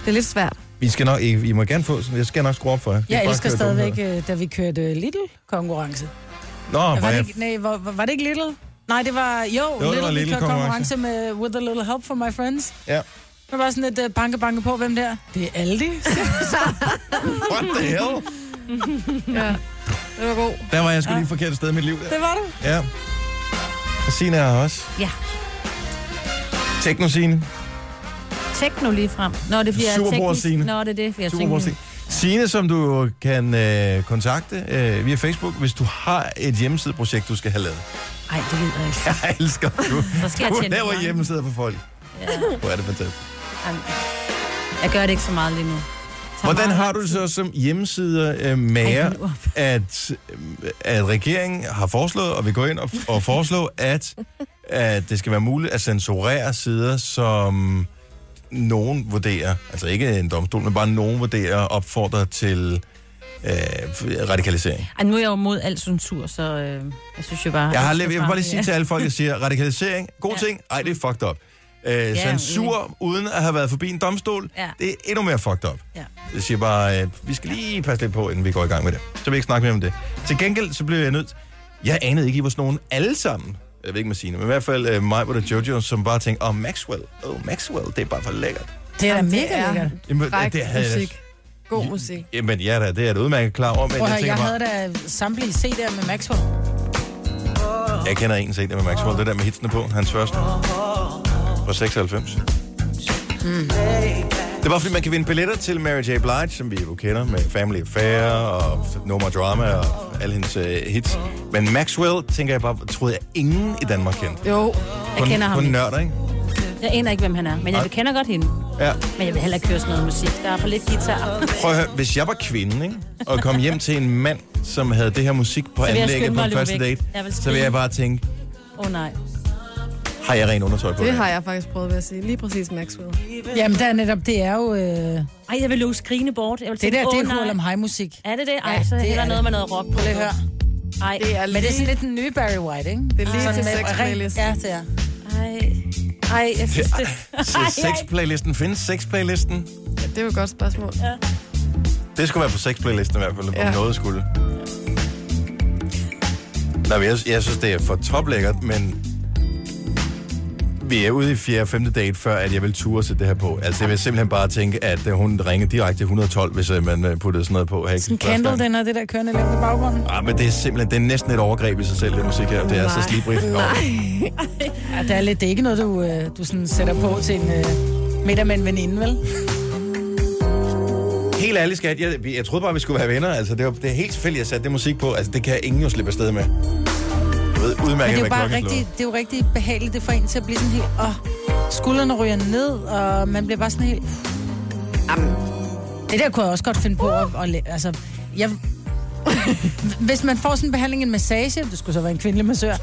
det er lidt svært.
vi skal nok, I, I må gerne få, jeg skal nok skrue op for jer. Vi
Jeg
skal bare
elsker
køre
stadigvæk,
dumheder.
øh, da vi kørte Lidl-konkurrence.
Nå,
Var
var
det,
jeg,
ikke, nej, var, var det ikke Little? Nej, det var, jo, jo
det
Little,
var
var Little
Lidl
konkurrence.
konkurrence
konkurrence med With a Little Help from My Friends.
ja.
Det var bare sådan et uh, banke, banke på, hvem der? Det er Aldi.
What the hell?
Det var god.
Der var jeg sgu lige et forkert sted i mit liv. Der.
det var det.
Ja. Og Signe er her også.
Ja.
Tekno Signe.
Tekno lige frem. Nå, det bliver
Superbror Signe.
Nå, det er det, for jeg
Super Signe. Signe, som du kan øh, kontakte øh, via Facebook, hvis du har et hjemmesideprojekt, du skal have lavet.
Nej, det lyder ikke.
Jeg elsker, du,
Så skal jeg
du
tjene
laver
mange.
hjemmesider for folk. Ja. Hvor er det fantastisk.
Jamen, Jeg gør det ikke så meget lige nu.
Hvordan har du det så som hjemmesider øh, med,
Ej, nu op.
at, øh, at regeringen har foreslået, og vil gå ind og, og foreslå, at, at det skal være muligt at censurere sider, som nogen vurderer, altså ikke en domstol, men bare nogen vurderer opfordrer til øh, radikalisering?
Ej, nu er jeg jo mod al censur, så øh, jeg synes jo bare...
Jeg, har
skal
lidt, jeg vil
frem.
bare lige sige til alle folk, jeg siger, radikalisering, god ja.
Ja.
ting, ej, det er fucked up. Øh, censur uden at have været forbi en domstol, ja.
Ja.
det er endnu mere fucked up.
Ja.
Jeg siger bare, øh, vi skal lige passe lidt på, inden vi går i gang med det. Så vil jeg ikke snakke mere om det. Til gengæld, så blev jeg nødt... Jeg anede ikke, I var sådan nogen alle sammen. Jeg ved ikke med Signe, men i hvert fald øh, mig, hvor der Jojo, som bare tænkte, åh, oh, Maxwell, oh, Maxwell, det er bare for lækkert.
Det er da
Jamen, det
mega
er
lækkert.
Jamen,
Fræk
det havde jeg da-
musik. God musik.
Jamen, ja, da, det er jeg da udmærket klar over, men
Prøv at
jeg
høre,
tænker
jeg
bare,
havde da samtlige CD'er med Maxwell.
jeg kender en set der med Maxwell, det der med hitsene på, hans første. På 96. Det var, fordi man kan vinde billetter til Mary J. Blige, som vi jo kender med Family Affair og No More Drama og alle hendes øh, hits. Men Maxwell, tænker jeg bare, troede jeg ingen i Danmark kendte.
Jo,
Kun,
kender ham
kun
ikke.
nørder, ikke?
Jeg aner ikke, hvem han er, men jeg kender godt hende.
Ja.
Men jeg vil heller ikke høre sådan noget musik. Der er for lidt guitar.
Prøv at høre, hvis jeg var kvinde, ikke? Og kom hjem til en mand, som havde det her musik på
jeg skynde
anlægget på
mig at
en
løbe
første
væk.
date,
Jeg vil
så vil jeg
skrige.
bare tænke,
Åh oh, nej.
har jeg ren undertøj på?
det har jeg faktisk prøvet ved at sige. Lige præcis Maxwell.
Jamen, der er netop, det er jo... Øh, det
Ej, jeg vil løbe skrigende bort. Jeg vil
der,
tænke,
det
åh,
er H&M
nej.
Hurlem High-musik.
Er det det? Ej,
Ja,
så
det
det
er
heller
det.
noget med noget rock på.
Prøv lige at høre.
Ej,
Det er
Men det er sådan
lidt...
lidt den nye Barry White, ikke?
Det er lige til
med-
sex
ren-
playlist.
Ja, det er.
ej, ej, jeg synes det...
Så sexplaylisten, findes sexplaylisten?
Det er jo et godt spørgsmål.
Det skulle være på sexplaylisten i hvert fald, ja.
Ja.
om noget skulle. Nej, men jeg, jeg synes, det er for toplækkert, men vi er ude i 4. 5. date, før at jeg vil ture sætte det her på. Altså, jeg vil simpelthen bare tænke, at øh, hun ringer direkte til 112, hvis øh, man øh, puttede sådan noget på. Hey,
Sådan Candle, den er det der kørende lidt i baggrunden.
Ah, men det er simpelthen det er næsten et overgreb i sig selv, det musik her. Det er altså så
Nej.
slibrigt.
Ja, det er, lidt, det er ikke noget, du, øh, du sådan sætter på til en øh, middag med en veninde, vel?
Helt ærligt, skat, jeg, jeg troede bare, vi skulle være venner. Altså, det, var, det er helt tilfældigt, jeg satte det musik på. Altså, det kan ingen jo slippe afsted med. Jeg ved
Men
udmærket,
det
hvad
er jo bare
klokken slår.
rigtig, det er jo rigtig behageligt, det får en til at blive sådan helt, åh, skuldrene ryger ned, og man bliver bare sådan helt... Jamen, det der kunne jeg også godt finde på at, at la- altså, jeg, hvis man får sådan en behandling, en massage, det skulle så være en kvindelig massør.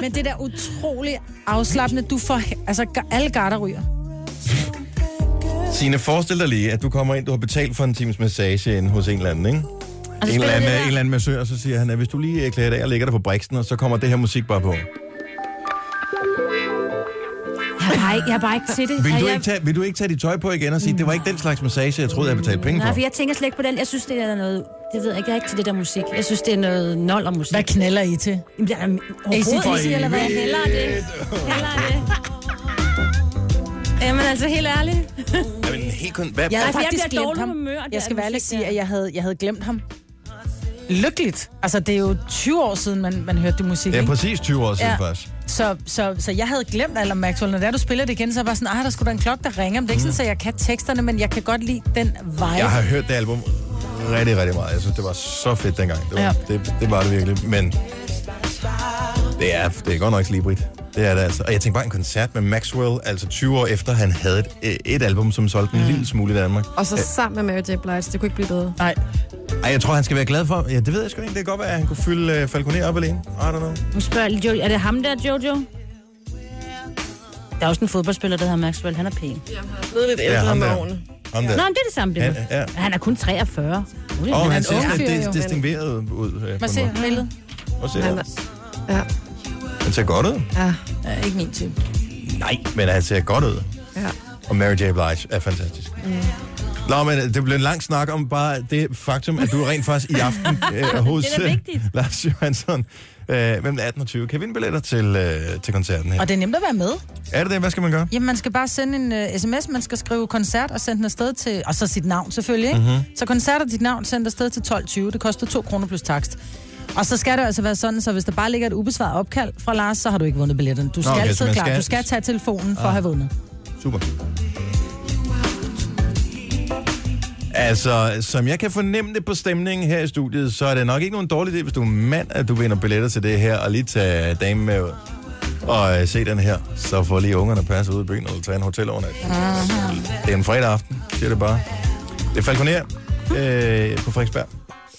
Men det der utrolig afslappende, du får, altså ga- alle garder ryger.
Signe, forestil dig lige, at du kommer ind, du har betalt for en times massage ind hos en eller anden, ikke? En
Altså, spiller
eller anden,
det
en
der.
eller anden massør, og så siger han, at hvis du lige øh, klæder dig af og lægger dig på briksen, og så kommer det her musik bare på.
Nej, jeg er bare ikke til det.
Vil
Ej,
du,
jeg...
ikke tage, vil du ikke tage dit tøj på igen og sige, det var ikke den slags massage, jeg troede, jeg betalte penge
Nej,
for?
for jeg tænker slet ikke på den. Jeg synes, det er noget... Det ved jeg ikke. Jeg er ikke til det der musik. Jeg synes, det er noget nol og musik.
Hvad knaller I til?
Jamen, der er overhovedet ikke, eller hvad? Hellere det. Hellere det. Jamen altså, helt ærligt.
Jamen, helt kun, hvad,
Jeg havde
Altså, jeg
faktisk
bliver
glemt
dårlig
ham.
humør, det
jeg
er
skal være ærlig og
musik,
sige,
ja.
at jeg havde, jeg havde glemt ham. Lykkeligt. Altså, det er jo 20 år siden, man, man hørte det musik,
det er
ikke?
præcis 20 år siden
Ja.
ja. faktisk.
Så, så, så jeg havde glemt Alan Maxwell. Når det er, du spiller det igen, så er jeg bare sådan, ah, der skulle da en klokke, der ringer. Men det er ikke sådan, at jeg kan teksterne, men jeg kan godt lide den vibe.
Mm. Jeg har hørt det album rigtig, rigtig meget. Jeg synes, det var så fedt dengang. Det var, ja.
Ja.
det, det, var det virkelig. Men Det er, det er godt nok slibrigt. Det er det altså. Og jeg tænkte bare en koncert med Maxwell, altså 20 år efter han havde et, øh, et album, som solgte
Mm.
en lille smule i Danmark. Øh,
Og så sammen med Mary J. Blige, det kunne ikke blive bedre.
Nej,
Ej, jeg tror, han skal være glad for. Ja, det ved jeg sgu ikke. Det kan godt være, at han kunne fylde uh, Falconer op alene. I don't know.
Nu spørger jeg lige Jojo, er det ham der, Jojo? Der er også en fodboldspiller, der hedder Maxwell. Han er pæn. Ja.
Blevet lidt
Ja,
ældre
ham
med
der.
årene.
Ham der.
Nå, men det er det samme, det
Han-
med.
ja.
Han er kun 43. Ui,
Og han
en ung
ser
fyr,
lidt
jo.
dis- distingueret ud. Øh,
man ser billedet.
Prøv at se
Han
der.
er, ja,
Han ser godt ud.
ja,
Ja, ikke min type.
Nej, men han ser godt ud.
ja.
Og Mary J. Blige er fantastisk. Mm. Nå, men øh, det blev en lang snak om bare det faktum, at du rent faktisk i aften øh, hos
Det er da
øh,
vigtigt.
Lars Johansson øh, mellem 18 og 20 kan vinde billetter til, øh, til koncerten her.
Og det er nemt at være med.
Er det det? Hvad skal man gøre?
Jamen, man skal bare sende en uh, sms, man skal skrive koncert og sende den afsted til, og så sit navn selvfølgelig, ikke?
Mhm.
Mm-hmm. Så koncert og dit navn sendt afsted til 12.20, det koster 2 kroner plus takst. Og så skal det altså være sådan, så hvis der bare ligger et ubesvaret opkald fra Lars, så har du ikke vundet billetten. Du skal
okay,
okay,
så
altid
man
klar.
skal- Ah.
Du skal tage telefonen for at have vundet.
Super. Altså, som jeg kan fornemme det på stemningen her i studiet, så er det nok ikke nogen dårlig idé, hvis du er mand, at du vinder billetter til det her, og lige tage damen med ud og øh, se den her. Så får lige ungerne passet ud i byen, eller tage en hotelovernatning. Det er en fredag aften, siger det bare. Det er Falconer øh, på Frederiksberg.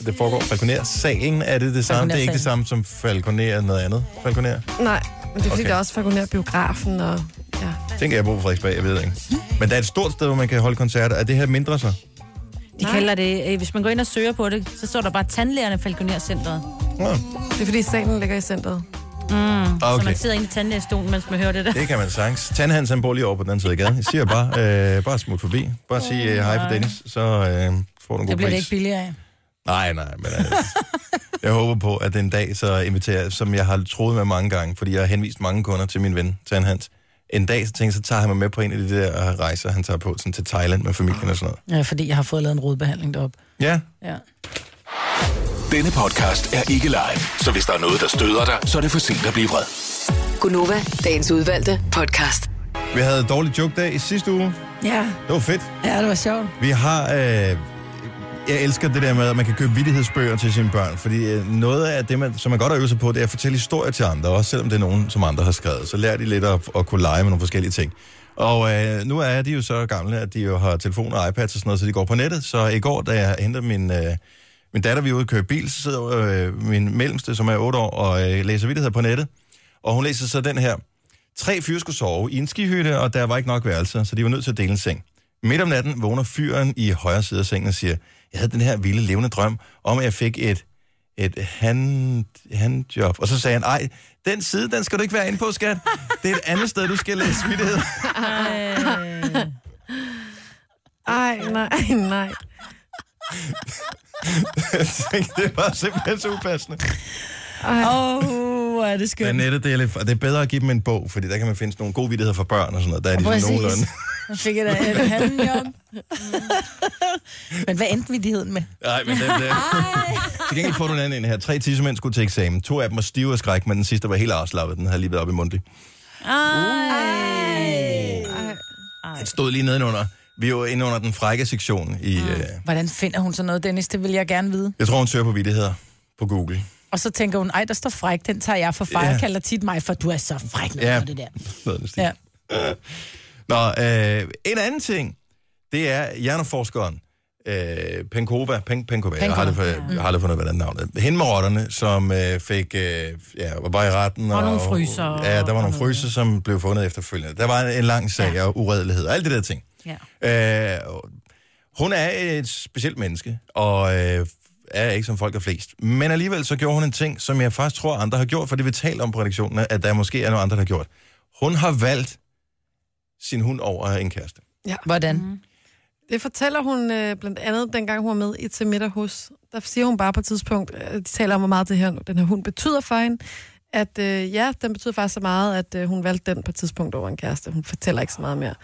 Det foregår Falconer. Salen er det det samme. Det er ikke det samme som Falconer noget andet. Falconer.
Nej, men det er fordi,
Okay.
okay. der er også fakulær biografen og... Ja.
Tænker jeg på Frederiksberg, jeg ved det ikke. Men der er et stort sted, hvor man kan holde koncerter. Er det her mindre så?
Ah,
De
Nej.
kalder det, øh, hvis man går ind og søger på det, så står der bare tandlægerne Falconer-centret.
Ja.
Det er fordi, salen ligger i centret.
Okay. Så
Okay,
man sidder inde i tandlægestolen, mens man hører det der.
det kan man sagtens. Tandhans, han bor lige over på den anden side af gaden. Jeg siger bare, øh, bare smut forbi. Bare sig øh, hej for Dennis, så øh, får du en god
Det bliver det
pris.
ikke billigere af.
Nej, nej, men altså, jeg håber på, at den dag så inviterer, som jeg har troet med mange gange, fordi jeg har henvist mange kunder til min ven, Tandhans. En dag, så tænker jeg, så tager han mig med på en af de der øh, rejser, han tager på sådan til Thailand med familien og sådan noget.
Ja, fordi jeg har fået lavet en rodbehandling deroppe.
Ja,
Ja.
Denne podcast er ikke live, så hvis der er noget, der støder dig, så er det for sent at blive vred.
Gunova, dagens udvalgte podcast.
vi havde dårlig joke dag i sidste uge.
Ja,
Det var fedt.
ja det var sjovt.
Vi har... Øh, jeg elsker det der med, at man kan købe vittighedsbøger til sine børn, fordi øh, noget af det, man, som man godt har øvet sig på, det er at fortælle historier til andre, også selvom det er nogen, som andre har skrevet. Så lærer de lidt at, at kunne lege med nogle forskellige ting. Og øh, nu er de jo så gamle, at de jo har telefoner og iPads og sådan noget, så de går på nettet. Så i går, da jeg henter min, øh, min datter, vi er ude og køre bil, så sidder øh, min mellemste, som er 8 år, og øh, læser vidtigheder på nettet. Og hun læser så den her. Tre fyre skulle sove i en skihytte, og der var ikke nok værelser, så de var nødt til at dele en seng. Midt om natten vågner fyren i højre side af sengen og siger, jeg havde den her vilde levende drøm om, at jeg fik et, et hand, handjob. Og så sagde han, ej, den side, den skal du ikke være inde på, skat. Det er et andet sted, du skal læse smittighed.
Ej, nej, nej.
Jeg tænkte, det var simpelthen så upassende.
Åh, oh, hvor er det
Men
skønt.
nettet, det er, lidt, og det er bedre at give dem en bog, fordi der kan man finde sådan nogle gode vidtigheder for børn og sådan noget. Der er de sådan
Præcis.
nogenlunde.
Jeg fik jeg da en halv job.
Mm.
Men hvad endte vidtigheden med?
Nej, men den der. Til gengæld får du en anden en her. Tre tissemænd skulle til eksamen. To af dem var stive af skræk, men den sidste var helt afslappet. Den havde lige været op i mundtlig. Den stod lige nedenunder. Vi var inde under den frække sektion. I, mm. øh,
Hvordan finder hun sådan noget, Dennis? Det vil jeg gerne vide.
jeg tror, hun søger på vidtigheder på Google.
Og så tænker hun, ej, der står fræk, den tager jeg for far.
Ja.
Jeg kalder tit mig, for du er så fræk, når
Ja.
ja. det der.
Noget af den stil.
Ja.
Nå, øh, en anden ting, det er hjerneforskeren øh, Penkova, Pen, Penkova, jeg har, det, for- jeg har aldrig fundet, hvad den navn er. Hende med rotterne, som øh, fik, øh, ja, var bare i retten.
Og nogle fryser og-
Ja, der var
og
nogle
noget.
fryser, som blev fundet efterfølgende. Der var en, en lang sag og uredelighed og alt det der ting.
Ja.
Øh, hun er et specielt menneske, og øh, er ikke som folk er flest. Men alligevel så gjorde hun en ting, som jeg faktisk tror, andre har gjort, for det vi taler om på redaktionen, at der måske er nogle andre, der har gjort. Hun har valgt sin hund over en kæreste.
Hvordan?
Det fortæller hun øh, blandt andet, dengang hun var med i Til middag hos. Der siger hun bare på et tidspunkt, øh, de taler om, hvor meget det her, den her hund betyder for hende, at øh, ja, den betyder faktisk så meget, at øh, hun valgte den på et tidspunkt over en kæreste. Hun fortæller ikke så meget mere.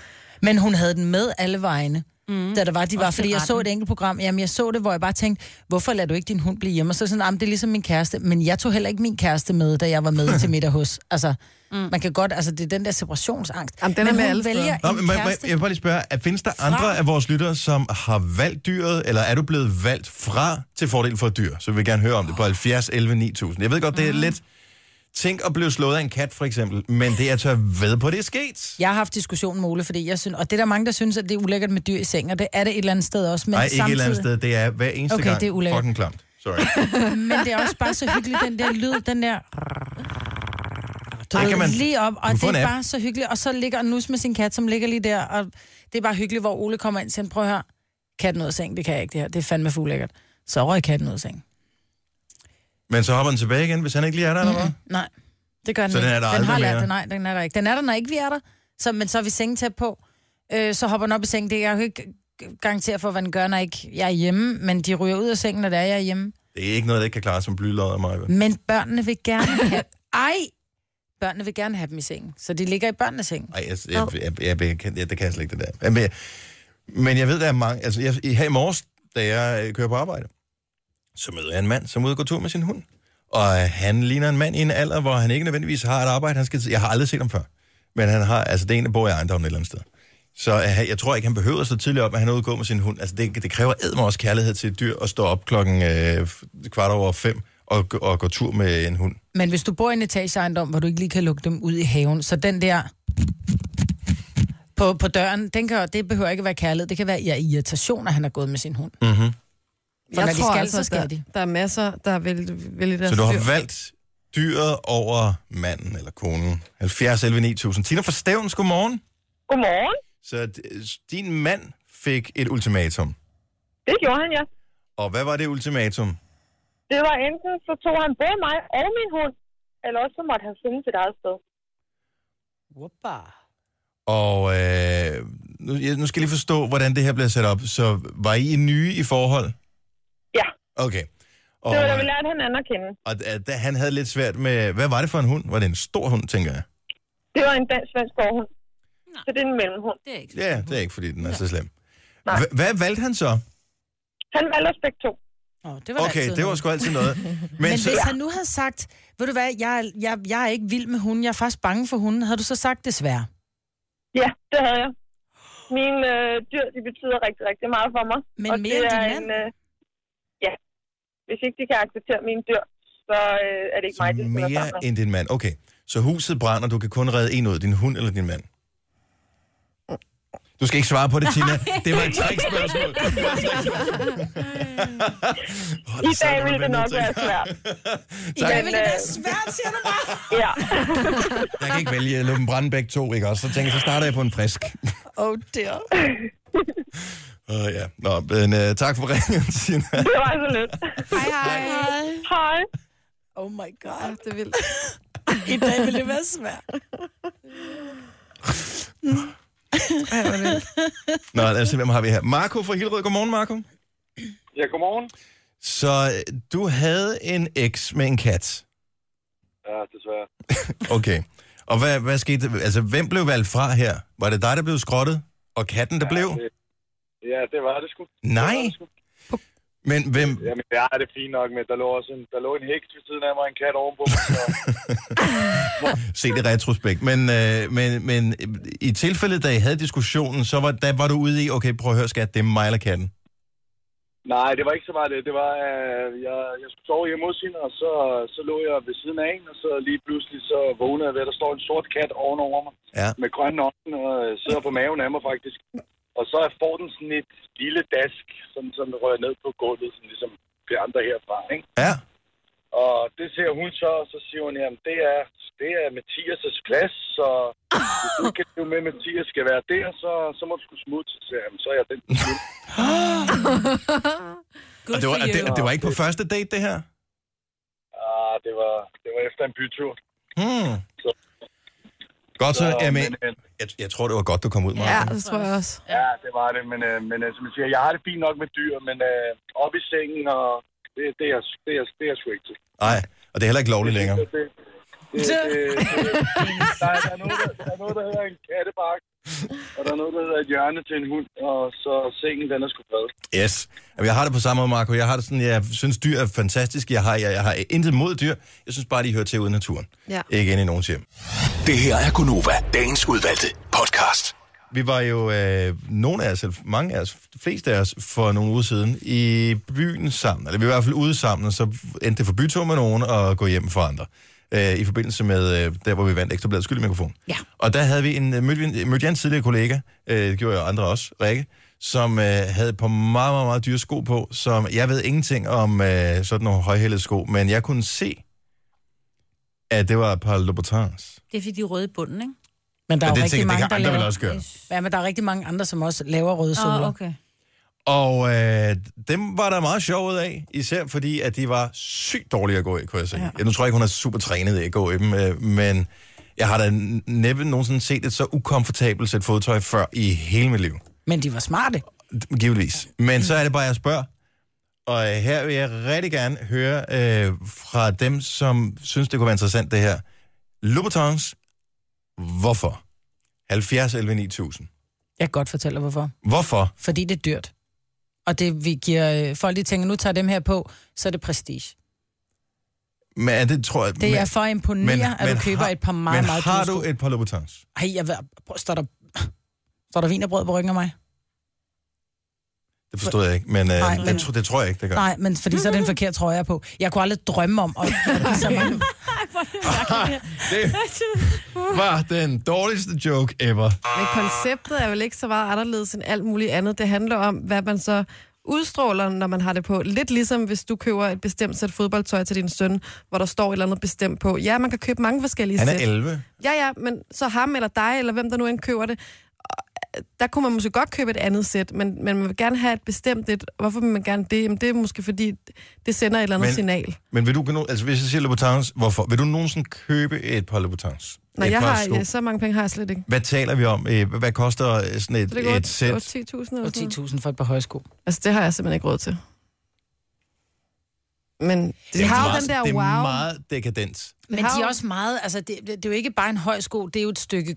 Men hun havde den med alle vegne. Mm. Da der var, de var,
Også
fordi
til
jeg så et
retten.
enkelt program, jamen jeg så det, hvor jeg bare tænkte, hvorfor lader du ikke din hund blive hjemme? Og så sådan, jamen det er ligesom min kæreste, men jeg tog heller ikke min kæreste med, da jeg var med til middag hos. Altså, mm. man kan godt, altså det er den der separationsangst.
Jamen, den er
men
med
hun
alle steder.
vælger
Nå,
en
men, må, jeg- må, jeg-
kæreste.
jeg vil bare lige spørge, er, findes der andre af vores lyttere, som har valgt dyret, eller er du blevet
Mhm.
valgt fra til fordel for et dyr? Så vil vi gerne høre om det på 70 11 9000. Jeg ved godt, det er lidt... Tænk at blive slået af en kat, for eksempel. Men det er tør ved på, det er sket.
Jeg har haft diskussion med Ole, fordi jeg synes, og det er der mange, der synes, at det er ulækkert med dyr i seng, og det er det et eller andet sted også. Men
Nej, ikke et
samtidig,
eller andet sted. Det er hver eneste
Okay,
gang
det er ulækkert.
fucking klamt. Sorry.
Men det er også bare så hyggeligt, den der lyd, den der... Du
Det
ved,
kan man-
lige op, og
man
det
får en
er
app.
bare så hyggeligt. Og så ligger Nus med sin kat, som ligger lige der, og det er bare hyggeligt, hvor Ole kommer ind og siger, prøv at høre, katten ud af seng, det kan jeg ikke det her, det er fandme fulækkert. Så røg katten ud af seng.
Men så hopper den tilbage igen, hvis han ikke lige er der, eller hvad?
Nej, det gør den
Så den
ikke.
er der
den
aldrig
har lært
mere?
det, nej, den er der ikke. Den er der, når ikke vi er der, så, men så er vi sengetæt på. Øh, så hopper den op i sengen. Det kan jeg jo ikke garantere for, hvad den gør, når ikke jeg er hjemme, men de ryger ud af sengen, når det er, jeg er hjemme.
Det er ikke noget, der ikke kan klare som blylod af mig. vel?
Men børnene vil gerne have... Ej! Børnene vil gerne have dem i sengen, så de ligger i børnenes seng.
Nej, jeg, jeg, jeg, jeg, jeg, kan- jeg, det kan jeg slet ikke, det der. Jamen, jeg- Men jeg ved, der er mange... Altså, jeg, i- her i morges, da jeg øh, kører på arbejde, så møder jeg en mand, som er ude og gå tur med sin hund. Og øh, han ligner en mand i en alder, hvor han ikke nødvendigvis har et arbejde. Han skal, jeg har aldrig set ham før. Men han har, altså, det er en, der bor i ejendommen et eller andet sted. Så øh, jeg tror ikke, han behøver så tidligt op, at han er ude og gå med sin hund. Altså, det, det kræver edme også kærlighed til et dyr at stå op klokken øh, f- kvart over fem og, gå- og gå tur med en hund.
Men hvis du bor i en etageejendom, hvor du ikke lige kan lukke dem ud i haven, så den der på, på døren, den kan, det behøver ikke at være kærlighed. Det kan være ja, irritation, at han har gået med sin hund.
Mm.
Mm-hmm. For når de skal, så skal
altså, der,
de.
der er masser, der er vel, vel i deres
Så
Altså,
du
dyr.
har valgt dyret over manden eller konen. 70 11 9000. Tina fra Stævns, godmorgen.
Godmorgen.
Så øh, din mand fik et ultimatum.
Det gjorde han, ja.
Og hvad var det ultimatum?
Det var enten, så tog han både mig og min hund, eller også så måtte han finde sit eget sted.
Og øh, nu, jeg, nu skal jeg lige forstå, hvordan det her bliver sat op. Så var I nye i forhold?
Ja.
Okay. Og,
Det var da vi lærte hinanden at kende.
og at, at han havde lidt svært med... Hvad var det for en hund? Var det en stor hund, tænker jeg?
Det var en dansk-svensk gårdhund. Så det er en mellemhund.
Det er ikke.
Ja, det er ikke, fordi den er så slem.
Nej.
Hva- Hvad valgte han så?
Han valgte os begge to.
Oh, det var da altid
Okay, det var
noget.
sgu altid noget.
Men hvis han nu havde sagt, ved du hvad, jeg, er- jeg, jeg er ikke vild med hunden, jeg er faktisk bange for hunden, havde du så sagt desværre?
Ja, det havde jeg. Mine øh, dyr, de betyder rigtig, rigtig meget for mig.
Men
og
mere
det
end din
er
mand?
en, øh, ja. Hvis ikke de kan acceptere mine dyr, så øh, er det ikke mig, de
Så
skal være sammen
mere
med.
end din mand. Okay, så huset brænder, du kan kun redde en ud, din hund eller din mand. Du skal ikke svare på det, Tina. Det var et trickspørgsmål. Det var et trickspørgsmål. Hold
I dag
satan,
ville det
hvor
nok
vandet,
være svært. øh,
Tak.
Det ville det være svært, siger du bare.
Ja.
Jeg kan ikke vælge at lukke brandbæk to, ikke også? Så tænker jeg, så starter jeg på en frisk.
Oh dear.
Uh, ja. Nå, men uh, tak for ringen, Tina.
Det var så lidt.
Hej, hej.
Hej.
Oh my god.
Det er vildt.
I dag ville det være svært.
Ej, hvor er det vildt.
Nå, lad os se, hvem har vi her. Marco fra Hillerød. Godmorgen, Marco.
Ja, godmorgen.
Så øh, du havde en eks med en kat.
Ja, desværre.
Okay. Og hvad, hvad skete? der? Altså, hvem blev valgt fra her? Var det dig, der blev skrottet? Og katten, der ja, blev?
Det, ja, det var det sgu.
Nej.
Det var det sgu.
Men hvem...
Jamen, ja, det er fint nok, men der lå også en, der lå en heks ved siden af mig, og en kat ovenpå. mig, Så,
Se det retrospekt. Men, øh, men, men øh, i tilfældet, da I havde diskussionen, så var, der var du ude i, okay, prøv at høre, skat, det er mig eller katten.
nej, det var ikke så meget det. Det var, øh, jeg, jeg skulle sove hjemme hos hende, og så, så lå jeg ved siden af en, og så lige pludselig så vågnede jeg ved, at der står en sort kat ovenover mig,
Ja.
med grønne øjne, og øh, sidder på maven af mig faktisk. Og så får den sådan et lille dask, sådan, som rører ned på gulvet, sådan, ligesom vi andre herfra, ikke?
Ja.
Og det ser hun så, og så siger hun, jamen det er, det er Mathias' plads, så hvis du ikke kan leve med, at Mathias skal være der, så, så må du skulle smutte. Så siger jeg, "Jamen, så er jeg den. der smutter."
Og det, var, og det, og det var ikke på første date, det her?
ah, det var, det var efter en bytur.
Hmm.
Så-
Godt så,
Så,
jamen,
men, øh,
jeg, jeg tror, det var godt, du kom ud, Marco.
Ja, det tror jeg også.
ja, det var det, men, øh, men øh, som jeg siger, jeg har det fint nok med dyr, men øh, op i sengen, og det, det, er, det, er, det er sgu ikke til.
Nej, og det er heller ikke lovligt længere.
Det, det, det, det, det, der, er- der, er noget, der, der er noget, der hedder en kattebakke, og der er noget, der hedder et hjørne til en hund, og så sengen, den er sgu bred.
Yes. Jamen, Jeg har det på samme måde, Marco. Jeg har det sådan, jeg synes, dyr er fantastiske. Jeg har, jeg, jeg har intet mod dyr. Jeg synes bare, de hører til ude i naturen.
Ja.
Ikke inde i nogens hjem.
Det her er Gunova, dagens udvalgte podcast.
Vi var jo, øh, nogle af os, eller mange af os, de fleste af os, for nogle uger siden, i byen sammen. Eller vi var i hvert fald ude sammen, og så endte det for bytur med nogen og gå hjem for andre. øh, i forbindelse med øh, der, hvor vi vandt Ekstrabladets skyldmikrofon.
Ja.
Og der havde vi en, øh, mødte, vi en- mødte jeg en tidligere kollega, øh, det gjorde jeg og andre også, Rikke, som øh, havde på meget, meget, meget dyre sko på, som jeg ved ingenting om øh, sådan nogle højhældede sko, men jeg kunne se, at det var et par Louboutins.
Det er fordi, de er røde i bunden, ikke?
Men der er
Men
jo
det tænker
rigtig
jeg,
mange,
det
der
kan andre vel
laver...
også gøre.
Ja, men der er rigtig mange andre, som også laver røde soler.
Åh,
Oh, okay.
Ah, okay.
Og øh, dem var der meget sjov ud af, især fordi, at de var sygt dårlige at gå i, kunne jeg sige. Ja. Nu tror jeg ikke, hun er super trænet i at gå i dem, øh, men jeg har da næppe nogensinde set et så ukomfortabelt sæt fodtøj før i hele mit liv.
Men de var smarte.
Givetvis. Men så er det bare, jeg spørger. Og øh, her vil jeg rigtig gerne høre øh, fra dem, som synes, det kunne være interessant, det her. Louboutins, hvorfor? 70 11 9000.
Jeg kan godt fortælle dig, hvorfor.
Hvorfor?
Fordi det er dyrt. Og det, vi giver øh, folk, de tænker, nu tager dem her på, så er det prestige.
Men er det, tror jeg...
Det
men-
er for at imponere, men, at du køber har, et par meget,
men
meget
har
dyre
du
sko.
et par Louboutins?
Ej, jeg, ved- prøv, står der, står der vin og brød på ryggen af mig?
Det forstod jeg ikke, men, øh,
Nej,
det,
men-
tro- det tror jeg ikke, det gør.
Nej, men fordi så er det en forkert trøje, jeg er på. Jeg kunne aldrig drømme om at... så mange-
Det
Uh.
var den dårligste joke ever.
Men konceptet er vel ikke så meget anderledes end alt muligt andet. Det handler om, hvad man så udstråler, når man har det på. Lidt ligesom hvis du køber et bestemt sæt fodboldtøj til din søn, hvor der står et eller andet bestemt på. Ja, man kan købe mange forskellige
Han er
sæt.
11.
Ja, ja, men så ham eller dig, eller hvem der nu end køber det, og, øh, der kunne man måske godt købe et andet sæt, men, men man vil gerne have et bestemt et. Hvorfor vil man gerne det? Jamen, det er måske fordi, det sender et eller andet
Men-
men, signal.
Men vil du, kunne- altså hvis jeg siger Louboutins, hvorfor? Vil du nogensinde købe et par Louboutins?
Når
et
jeg
par
har,
sko?
ja, så mange penge har jeg slet ikke.
Hvad taler vi om? Øh, Hvad koster øh, sådan
Så
et,
det går
et sæt?
10.000 eller
Og
sådan noget.
10.000 for et par højsko.
Altså, det har jeg simpelthen ikke råd til. Men de
er
har jo
meget-
den der
Det er
wow.
meget dekadent.
Men
har
de er
jo-
også meget, altså det, det, det er jo ikke bare en høj sko, det er jo et stykke,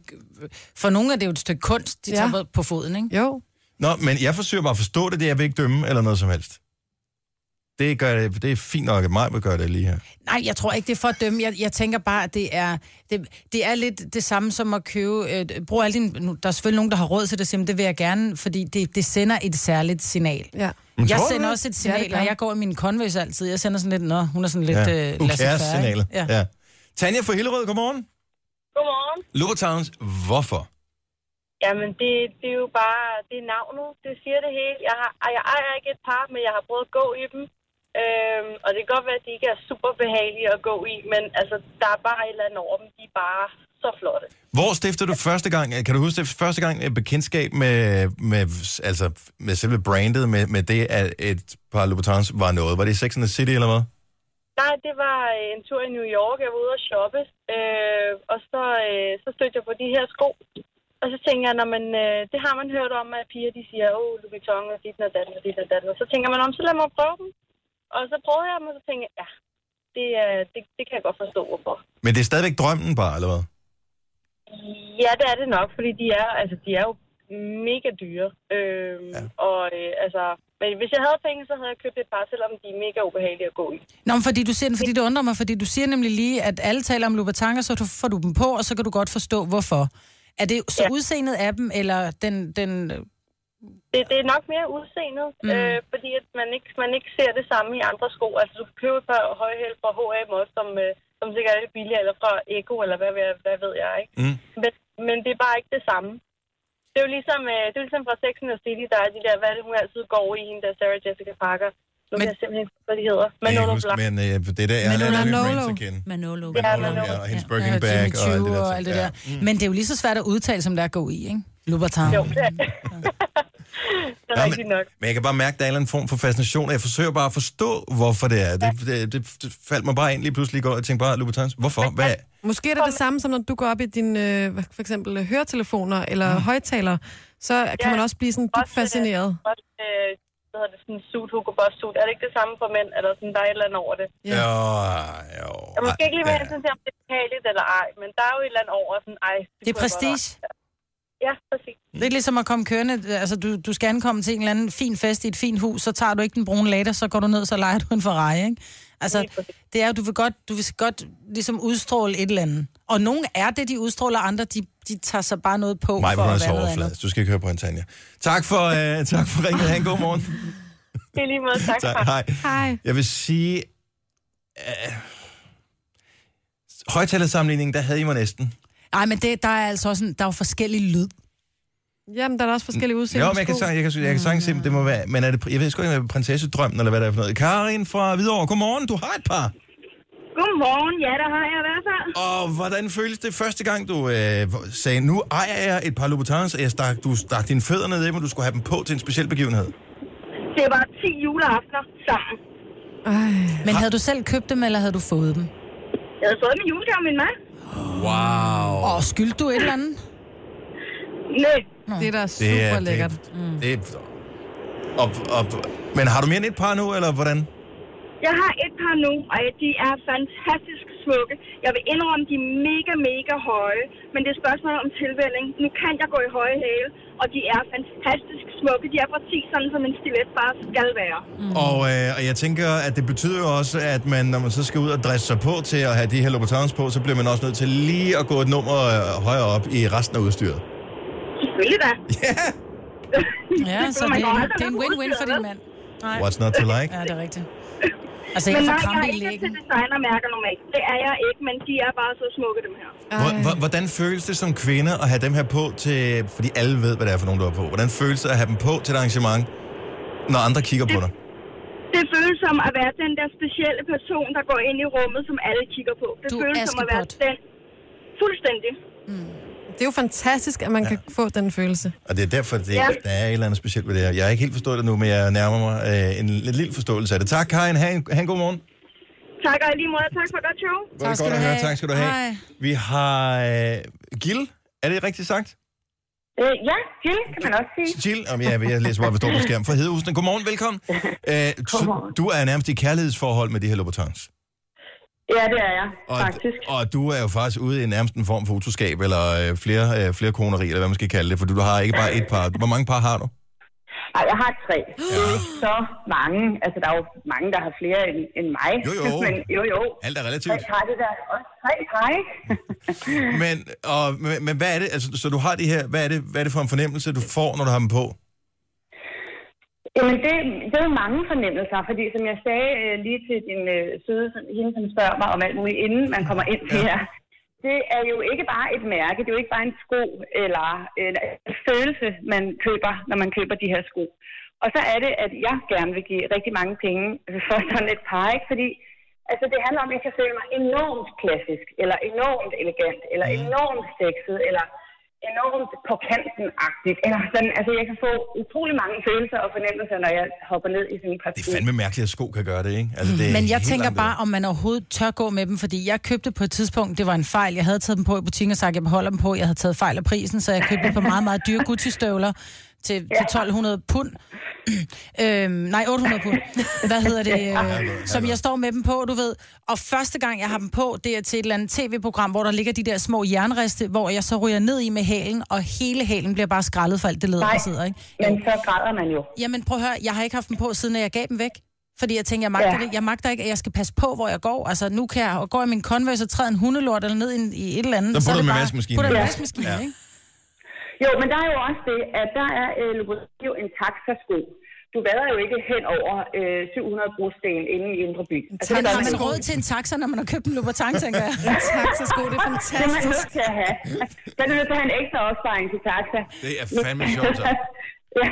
for nogle er det jo et stykke kunst, de
Ja.
ja. tager på- på foden, ikke?
Jo,
Nå, men jeg forsøger bare at forstå det, det jeg vil ikke dømme eller noget som helst. Det, gør det, det er fint nok, at mig vil gøre det lige her.
Nej, jeg tror ikke, det er for at dømme. Jeg, jeg tænker bare, at det er, det, det er lidt det samme som at købe... Øh, brug alle dine, nu, der er selvfølgelig nogen, der har råd til det, siger, "Men det vil jeg gerne, fordi det, det sender et særligt signal.
ja.
Men
Jeg
tror du
sender
det?
også et
Ja,
signal,
det gør
ja, og
jeg.
jeg går i min Converse altid. Jeg sender sådan lidt, nå, hun er sådan lidt ja. øh,
Who
laissez-faire,
cares
ikke?
signalet.
Ja.
Ja. Tanja fra Hillerød, godmorgen.
Godmorgen.
Louboutins, hvorfor?
Jamen, det, det er jo bare, det er navnet, det siger det hele. Jeg, har, ej, jeg ejer ikke et par, men jeg har prøvet at gå i dem. Øhm, og det kan godt være, at de ikke er super behagelige at gå i, men altså, der er bare et eller andet over dem. De er bare så flotte.
Hvor stifter du første gang, øh, kan du huske det første gang et bekendtskab med, med, altså, med selve brandet, med, med det, at et par Louboutins var noget? Var det i Sex and the City eller hvad?
Nej, det var øh, en tur i New York. Jeg var ude og shoppe, øh, og så, øh, så stødte jeg på de her sko. Og så tænker jeg, når man, øh, det har man hørt om, at piger de siger, åh, Louis Vuitton og dit og dat og dit og dat. Og så tænker man om, så lad mig prøve dem. Og så prøvede jeg dem, og så tænkte jeg, ja, det, er, det, det kan jeg godt forstå, hvorfor.
Men det er stadigvæk drømmen bare, eller hvad?
Ja, det er det nok, fordi de er, altså, de er jo mega dyre. Øh, ja. Og øh, altså, men hvis jeg havde penge, så havde jeg købt et par, selvom de er mega ubehagelige at gå i.
Nå, men fordi du siger den, fordi det undrer mig, fordi du siger nemlig lige, at alle taler om Louboutin, og så du- får du dem på, og så kan du godt forstå, hvorfor. Er det så ja.
Ja.
udseendet af dem, eller den, den
Det, det er nok mere udseendet, mm. øh, fordi at man, ikke, man ikke ser det samme i andre sko. Altså, du kan købe et par højhæl fra H&M også, som, øh, som sikkert er lidt billigere, eller fra Eko, eller hvad, hvad, hvad ved jeg, ikke?
Mm.
Men, men det er bare ikke det samme. Det er jo ligesom, øh, det er jo ligesom fra Sex and the City, der er de der, hvad er det, hun altid går i, hende der Sarah Jessica Parker. Nu
Men-
kan jeg simpelthen ikke huske, hvad de hedder. Manolo Black.
men øh, det er der, jeg
Manolo.
har lært
Manolo.
at kende.
Manolo.
Ja,
Manolo,
Manolo.
ja, og hendes
Ja.
Birkin
Ja,
bag
Jimmy
og alt det
Choo
der.
og alt
ting.
det der.
Ja. Mm.
Ja. Men det er jo lige så svært at udtale, som det er at gå i, ikke? Louboutin.
Jo, det er, det er
Ja,
rigtigt nok.
Men jeg kan bare mærke, at der er en eller anden form for fascination, og jeg forsøger bare at forstå, hvorfor det er. Det, det, det, det faldt mig bare ind lige pludselig i går, og tænkte bare, Louboutins, hvorfor? Hvad?
Måske er det det samme som, når du går op i dine øh, hvad- for eksempel øh, høretelefoner eller mm. højtalere, så kan
Ja,
man også blive sådan dybt
også, øh,
fascineret.
Også, øh, hvad hedder det, sådan en suit, Hugo Boss suit. Er det ikke det samme for mænd, eller sådan, der er et eller andet over det?
Ja. Jo, jo.
Jeg er måske ikke lige
Ej,
være
ja.
hensyn til, om det er behageligt eller ej, men der er jo et eller andet over sådan, ej.
Det er
kunne jeg godt
prestige.
have. Ja, præcis.
Det er ligesom at komme kørende. Altså, du, du skal ankomme til en eller anden fin fest i et fint hus, så tager du ikke den brune later, så går du ned, så leger du en Ferrari, ikke? Altså,
Lige præcis.
det er jo, du vil godt, du vil godt ligesom udstråle et eller andet. Og nogen er det, de udstråler, andre, de, de tager sig bare noget på
Mig,
for
hvor hun er
at
så
være noget andet.
overfladisk. Du skal ikke høre på hende, Tanja. Tak for, uh, tak for ringet. Ha' en god morgen.
Det er lige måde. Tak.
tak,
tak.
hej.
Hej.
Jeg vil sige... Uh, højtalersammenligning, øh, der havde I mig næsten.
Ej, men det, der er altså også en, der er jo forskellig lyd.
Jamen, der er da også forskellige udseende
Jo, men jeg kan,
sko.
sang, jeg kan, jeg kan sagtens
Mm.
se, om det må være... Men er det, jeg ved sgu ikke, om det er prinsessedrømmen, eller hvad det er for noget. Karin fra Hvidovre, godmorgen, du har et par.
Godmorgen, ja, der har jeg i hvert fald.
Og hvordan føles det første gang, du øh, sagde, nu ejer jeg et par Louboutins, og jeg stak, du stak dine fødder ned i dem, og du skulle have dem på til en speciel begivenhed?
Det var 10 juleaftener sammen.
Ej,
Men havde du selv købt dem, eller havde du fået dem?
Jeg havde fået min julegave af min mand.
Wow.
Og skyldte du et eller andet?
Nej,
det er da super lækkert.
Det,
Mm.
det, det, og, og, men har du mere end et par nu, eller hvordan?
Mm.
jeg har et par nu, og de er fantastisk smukke. Jeg vil indrømme, de er mega, mega høje. Men det er et spørgsmål om tilvælling. Nu kan jeg gå i høje hæle, og de er fantastisk smukke. De er præcis sådan, som en stilet bare skal være.
Mm. Og, øh, og jeg tænker, at det betyder jo også, at man, når man så skal ud og dresse sig på til at have de her Louboutins på, så bliver man også nødt til lige at gå et nummer øh, højere op i resten af udstyret.
Selvfølgelig da.
Ja, så det, er en- det er en win-win for din mand. Nej.
What's not to like?
Ja, det er rigtigt. Altså,
Men
jeg får
nej, jeg
krampe
er
i
ikke til
lægen.
designermærker normalt. Det er jeg ikke, men de er bare så smukke, dem her.
Hvor- hvor- Hvordan føles det som kvinde at have dem her på til... Fordi alle ved, hvad det er for nogen, du har på. Hvordan føles det at have dem på til et arrangement, når andre kigger på dig?
Det føles som at være den der specielle person, der går ind i rummet, som alle kigger på. Det
Du er
føles som at være
Askepot.
den. Fuldstændig.
Det er jo fantastisk, at man kan få den følelse.
Og det er derfor, det,
Ja.
der er et eller andet specielt ved det her. Jeg har ikke helt forstået det nu, men jeg nærmer mig øh, en lidt lille forståelse af det. Tak, Karin. Ha' en, ha en god morgen.
Tak og i lige måde. Tak for et godt show.
Var det
skal
godt
du
at høre.
have.
Tak skal du have.
Hej.
Vi har øh, Gil. Er det rigtigt sagt?
Øh, ja, Jill kan man også sige.
Gil. Om jeg, jeg læser bare, hvad står på skærmen. Fra Hedehusene. Godmorgen, velkommen. Øh, så,
Godmorgen.
du er nærmest i kærlighedsforhold med de her Louboutins.
Ja, det er jeg,
Og,
faktisk.
og du er jo faktisk ude i nærmest en form for utroskab, eller øh, flere, øh, flere koneri, eller hvad man skal kalde det, for du har ikke bare et par. Hvor mange par har du?
Ej, jeg har tre. Det er jo ikke så mange. Altså, der er jo mange, der har flere end, end mig.
Jo, jo.
Men jo, jo.
Alt er
Tre
relativt.
par, det der er også tre par, ikke?
Men, og, men, men hvad er det, altså, så du har de her, hvad er det, hvad er det for en fornemmelse, du får, når du har dem på?
Jamen, det, det er jo mange fornemmelser, fordi som jeg sagde øh, lige til din øh, søde, hende som spørger mig om alt muligt, inden man kommer ind til her, det er jo ikke bare et mærke, det er jo ikke bare en sko eller en følelse, man køber, når man køber de her sko. Og så er det, at jeg gerne vil give rigtig mange penge for sådan et par, ikke? fordi altså, det handler om, at jeg kan føle mig enormt klassisk, eller enormt elegant, eller enormt sexet, eller enormt på kanten-agtigt. Eller sådan, altså, jeg kan få utrolig mange følelser og fornemmelser, når jeg hopper ned i sådan en par
Det
sko.
er fandme mærkeligt, at sko kan gøre det, ikke? Altså, det er
Men jeg
helt
tænker
langt
bare,
ud.
om man overhovedet tør gå med dem, fordi jeg købte på et tidspunkt, det var en fejl, jeg havde taget dem på i butikken og sagt, at jeg beholder dem på, jeg havde taget fejl af prisen, så jeg købte på meget, meget dyre Gucci-støvler til, til 1200 pund. øhm, nej, 800 pund. Hvad hedder det? Øh, som jeg står med dem på, du ved. Og første gang, jeg har dem på, det er til et eller andet tv-program, hvor der ligger de der små jernriste, hvor jeg så ryger ned i med halen, og hele halen bliver bare skrællet for alt det led, der sidder, ikke?
Men så græder man jo.
Jamen prøv at høre, jeg har ikke haft dem på, siden jeg gav dem væk. Fordi jeg tænker, jeg magter ja.
Ja.
det. Jeg magter ikke, at jeg skal passe på, hvor jeg går. Altså, nu kan jeg, og går jeg i min Converse og træder en hundelort eller ned i, en- i et eller andet.
Så putter
er det
du dem i
bare-
vaskemaskinen.
Putter dem i
Ja.
vaskemaskinen,
Ja.
ja. ikke?
Jo, men der er jo også det, at der er øh, Lokomotiv en taxasko. Du vader jo ikke hen over øh, 700 brosten inde i Indre By. Altså,
Men
det
har
gør
man
ikke.
råd til en taxa, når man har købt en Louboutin, tænker jeg.
Tak, så sko, det er
Det er man
fantastisk.
nødt til at have. Der er du nødt til at have en ekstra opsparing til taxa.
Det er fandme sjovt, så.
ja,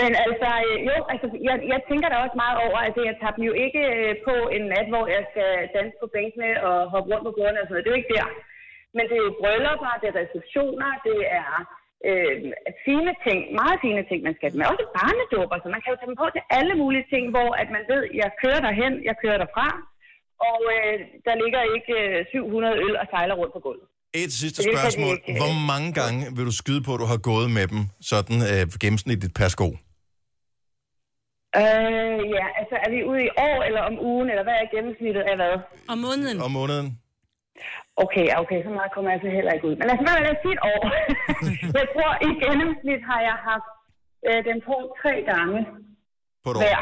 men altså, øh, jo, altså, jeg, jeg tænker da også meget over, at altså, jeg tager dem jo ikke øh, på en nat, hvor jeg skal danse på bænkene og hoppe rundt på bordene og sådan noget. Det er jo ikke der. Men det er jo bryllupper, det er receptioner, det er øh, fine ting, meget fine ting, man skal have dem med. Også barnedåber, så man kan jo tage dem på til alle mulige ting, hvor at man ved, jeg kører derhen, jeg kører derfra, og øh, der ligger ikke øh, 700 øl og sejler rundt på gulvet.
Et sidste
Det kan de
spørgsmål.
ikke.
Hvor mange gange vil du skyde på, at du har gået med dem, sådan øh, gennemsnitligt per sko?
Øh, ja, altså er vi ude i år eller om ugen, eller hvad er gennemsnittet af hvad?
Om måneden.
Om måneden?
Okay, ja, okay, så meget kommer jeg så heller ikke ud. Men altså, hvad vil jeg sige et år? jeg tror, i gennemsnit har jeg haft øh, den på tre gange
På et år?
hver.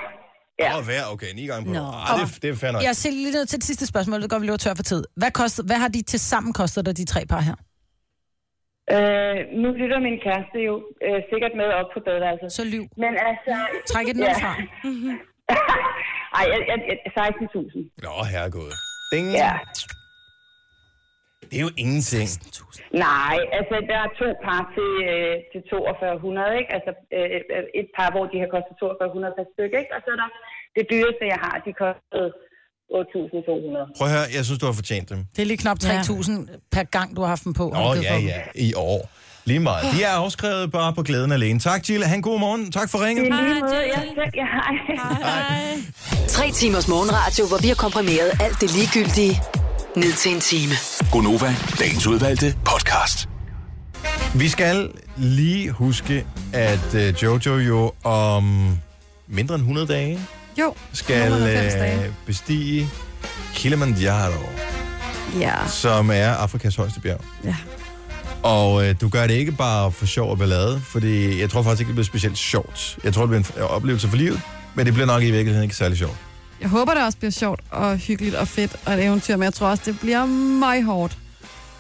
Ja.
Åh, hver, okay. Ni gange på et
Nå.
år. Ej, det, er- det er fair nok.
Jeg er selv lige nødt til det sidste spørgsmål. Det går, vi løber tør for tid. Hvad, kostede, hvad har de til sammen kostet dig, de tre par her?
Øh, nu lytter min kæreste jo øh, sikkert med op på badeværelset.
Så lyv.
Men altså...
Træk et nul
Ja.
fra.
Ej, jeg, jeg, jeg, 16.000.
Nå, herregud. Ding.
Ja.
Det er jo ingenting.
Nej, altså der er to par til, øh, til 4200, ikke? Altså øh, øh, et par, hvor de har kostet 4200 per stykke, ikke? Og så er der det dyreste, jeg har, de kostede 8200.
Prøv at høre, jeg synes, du har fortjent dem.
Det er lige knap 3.000 ja. per gang, du har haft dem på.
Åh, oh, ja, ja. I år. Lige meget. De er afskrevet bare på glæden alene. Tak, Jill. Han god morgen. Tak for ringet.
I
Ah,
lige måde, ja, tak, ja, hej.
Tre timers morgenradio, hvor vi har komprimeret alt det ligegyldige ned til en time.
Gonova, dagens udvalgte podcast.
Vi skal lige huske, at øh, Jojo jo om mindre end 100 dage
Jo.
skal
190
øh,
dage.
bestige Kilimanjaro,
Ja.
som er Afrikas højeste bjerg.
ja.
Og øh, du gør det ikke bare for sjov og ballade, fordi jeg tror faktisk ikke, det bliver specielt sjovt. Jeg tror, det bliver en f- øh, oplevelse for livet, men det bliver nok i virkeligheden ikke særlig sjovt.
Jeg håber, det også bliver sjovt og hyggeligt og fedt og et eventyr, men jeg tror også, det bliver meget hårdt.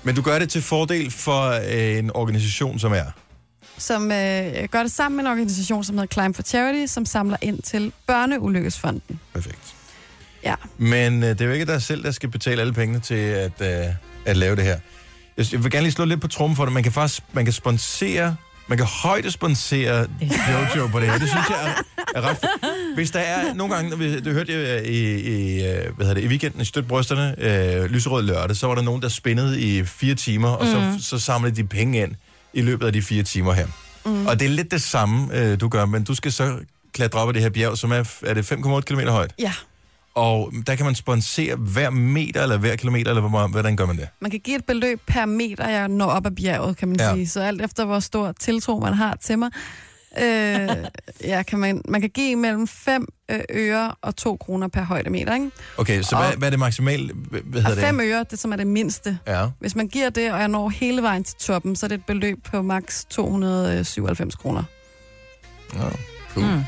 Men du gør det til fordel for øh, en organisation, som er.
Som øh, jeg gør det sammen med en organisation, som hedder Climb for Charity, som samler ind til Børneulykkesfonden.
Perfekt.
Ja.
Men øh, det er jo ikke dig selv, der skal betale alle pengene til at, øh, at lave det her. Jeg s- Jeg vil gerne lige slå lidt på trummen for det. Man kan faktisk man kan sponsere, man kan højde sponsere Jojo på det her. Det synes jeg er, er ret fedt. Hvis der er nogle gange, når vi, det hørte jeg øh, i, i, øh, hvad hedder det, i weekenden i Støt Brysterne, øh, lyserød lørdag, så var der nogen, der spændede i fire timer, og mm.
Mhm.
så, så samlede de penge ind i løbet af de fire timer her. Mm. Og det er lidt det samme, øh, du gør, men du skal så klatre op af det her bjerg, som er, f- er det 5,8 km højt.
Ja.
Og der kan man sponsere hver meter, eller hver kilometer, eller hvor meget, hvordan gør man det?
Man kan give et beløb per meter, jeg når op ad bjerget, kan man
Ja.
ja. sige. Så alt efter, hvor stor tiltro man har til mig. Øh, ja, kan man, man kan give mellem 5 øre og 2 kroner per højdemeter, ikke?
Okay, så hvad, hvad er det maksimalt? Hvad, hvad
Og
hedder
5
det?
øre, det som er det mindste.
Ja.
Hvis man giver det, og jeg når hele vejen til toppen, så er det et beløb på maks 297 kroner.
ja. Cool. Mm.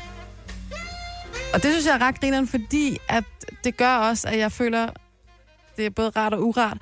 Og det synes jeg er ret grineren, fordi at det gør også, at jeg føler, det er både rart og urart,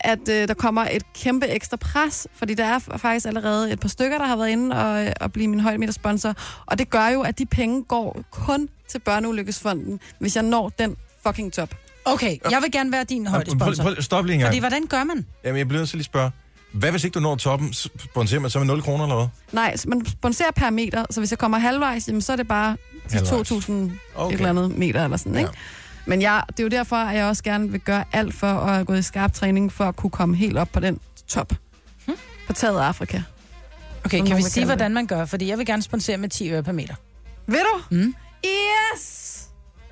at øh, der kommer et kæmpe ekstra pres, fordi der er f- faktisk allerede et par stykker, der har været inde og, øh, og blive min højdemetersponsor, og det gør jo, at de penge går kun til Børneulykkesfonden, hvis jeg når den fucking top.
Okay, jeg vil gerne være din højdesponsor.
Prøv, prøv, stop lige en gang.
Fordi hvordan gør man?
Jamen, jeg bliver nødt til lige at spørge. Hvad hvis ikke du når toppen? Sponserer man så med 0 kroner eller hvad?
Nej, så man sponsorer per meter, så hvis jeg kommer halvvejs, jamen, så er det bare de
Halvvejs.
2.000
Okay.
okay. et eller andet meter eller sådan, ikke? Men jeg, det er jo derfor, at jeg også gerne vil gøre alt for at gå i skarp træning, for at kunne komme helt op på den top.
Hm?
På taget af Afrika.
Okay,
Som
kan vi
nogen
sige,
kalder det.
hvordan man gør? Fordi jeg vil gerne sponsere med 10 øre per meter.
Ved du?
Mm.
Yes!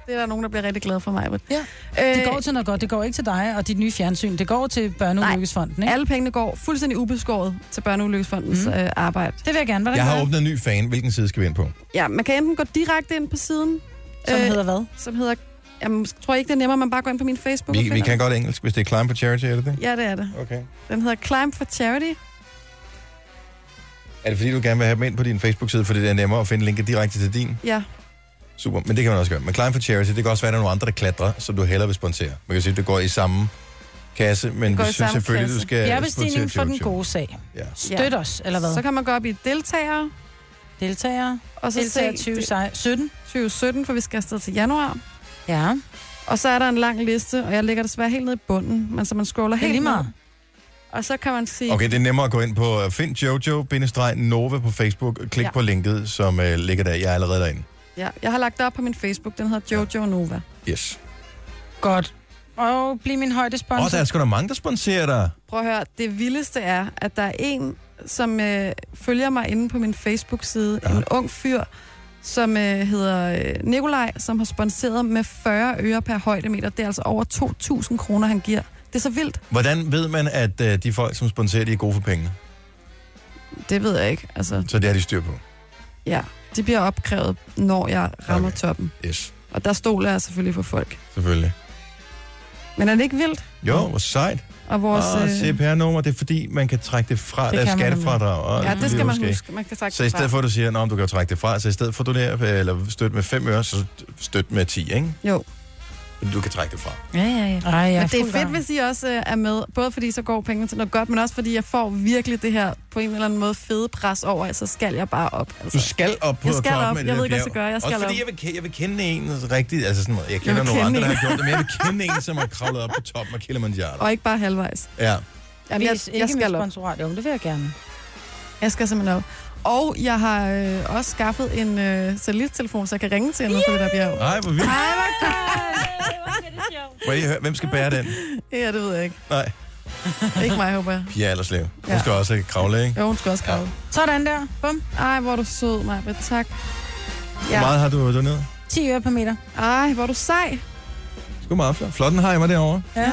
Det er der nogen, der bliver rigtig glade for mig. Øh,
Ja. Det går til noget godt. Det går ikke til dig og dit nye fjernsyn. Det går til Børneulykkesfonden, ikke?
Alle pengene går fuldstændig ubeskåret til Børneulykkesfondens mm. øh, arbejde.
Det vil jeg gerne. Hvordan
Jeg
gør
har
man?
åbnet en ny fan. Hvilken side skal vi ind på?
Ja, man kan enten gå direkte ind på siden. øh,
Som hedder hvad?
Som hedder... Jamen, tror jeg ikke, det er nemmere, man bare går ind på min Facebook. og
Vi, vi
finder
kan
den.
godt engelsk, hvis det er Climb for Charity, er det det?
Ja, det er det.
Okay.
Den hedder Climb for Charity.
Er det fordi, du gerne vil have dem ind på din Facebook-side, fordi det er nemmere at finde linket direkte til din?
Ja.
Super, men det kan man også gøre. Men Climb for Charity, det kan også være, at der er nogle andre, der klatrer, som du hellere vil sponsere. Man kan sige, at det går i samme kasse, men vi
går i
synes
samme
selvfølgelig,
kasse.
du skal
Bjergbestigning for den
Jojo.
gode sag.
Ja.
Støt
Ja.
os, eller hvad?
Så kan man gå op i deltagere.
Deltagere.
Og så
Deltager
se
2017.
2017, for vi skal afsted til januar.
Ja.
Og så er der en lang liste, og jeg ligger desværre helt nede i bunden, men så man scroller
Det er
helt
lige
ned.
meget.
Og så kan man sige...
Okay, det er nemmere at gå ind på øh, find Jojo-Nova på Facebook. og Klik ja.
Ja.
på linket, som uh, ligger der. Jeg er allerede derinde.
Ja, jeg har lagt det op på min Facebook, den hedder Jojo Nova.
Yes.
Godt. Og bliv min højdesponsor.
Og der er sgu da mange, der sponsorer dig.
Prøv at høre, det vildeste er, at der er en, som øh, følger mig inde på min Facebook-side, ja. en ung fyr, som øh, hedder øh, Nikolaj, som har sponsoreret med 40 øre per højdemeter. Det er altså over 2.000 kroner, han giver. Det er så vildt.
Hvordan ved man, at uh, de folk, som sponsorer, de er gode for pengene?
Det ved jeg ikke. Altså,
Så det har de styr på.
ja, det bliver opkrævet, når jeg rammer okay. toppen.
Yes,
Og der stoler jeg selvfølgelig på folk.
selvfølgelig.
Men er det ikke vildt?
Jo, hvor sejt.
Og vores... øh,
Og CPR-nummer, det er fordi, man kan trække det fra
Det
deres
kan man
skattefradrag. og
ja,
alt
det skal
muligt måske.
man huske. Man kan trække
Så i
det fra.
stedet for, at du siger, at du kan jo trække det fra, så i stedet for, at du lærer, eller støtte med 5 øre, så støt med 10, ikke?
Jo.
Fordi Du kan trække det fra.
Ja, ja, ja. Ej, jeg
Men det
fuld
er fedt,
gang.
hvis I også øh, er med. Både fordi så går pengene til noget godt, men også fordi jeg får virkelig det her på en eller anden måde fede pres over, at så skal jeg bare op. Altså.
Du skal op på
Jeg skal
toppen
op.
af det der
Jeg ved ikke, hvad jeg
bjerg.
skal gøre. Jeg skal
Også fordi jeg
op.
vil, ke- jeg vil kende en rigtigt, altså sådan noget. Jeg kender
vil
nogle
kende
andre, der
en.
har gjort det, men jeg vil kende en, som har kravlet op på toppen af Kilimanjaro.
Og ikke bare halvvejs.
Ja.
Jamen, jeg,
Vis
jeg
ikke mit
skal op.
sponsorat. Jo, det vil jeg gerne.
Jeg skal simpelthen op. Og jeg har øh, også skaffet en øh, satellittelefon, så jeg kan ringe til hende på det der bjerg.
Nej, hvor vildt.
Ej, hvor
Må jeg lige høre, hvem skal bære den?
godt. Ja, det ved jeg ikke.
Nej,
Ikke mig, håber jeg.
Pia Allerslev. Hun
Ja.
skal også øh, kravle, ikke?
Jo, hun skal også
Ja.
kravle.
Sådan der. Bum.
Ej, hvor er du sød, Maja. Tak.
Hvor meget har du doneret?
10 øre per meter.
Ej, hvor er du sej.
Sgu meget flot. Flot, den har jeg mig derovre.
Ja.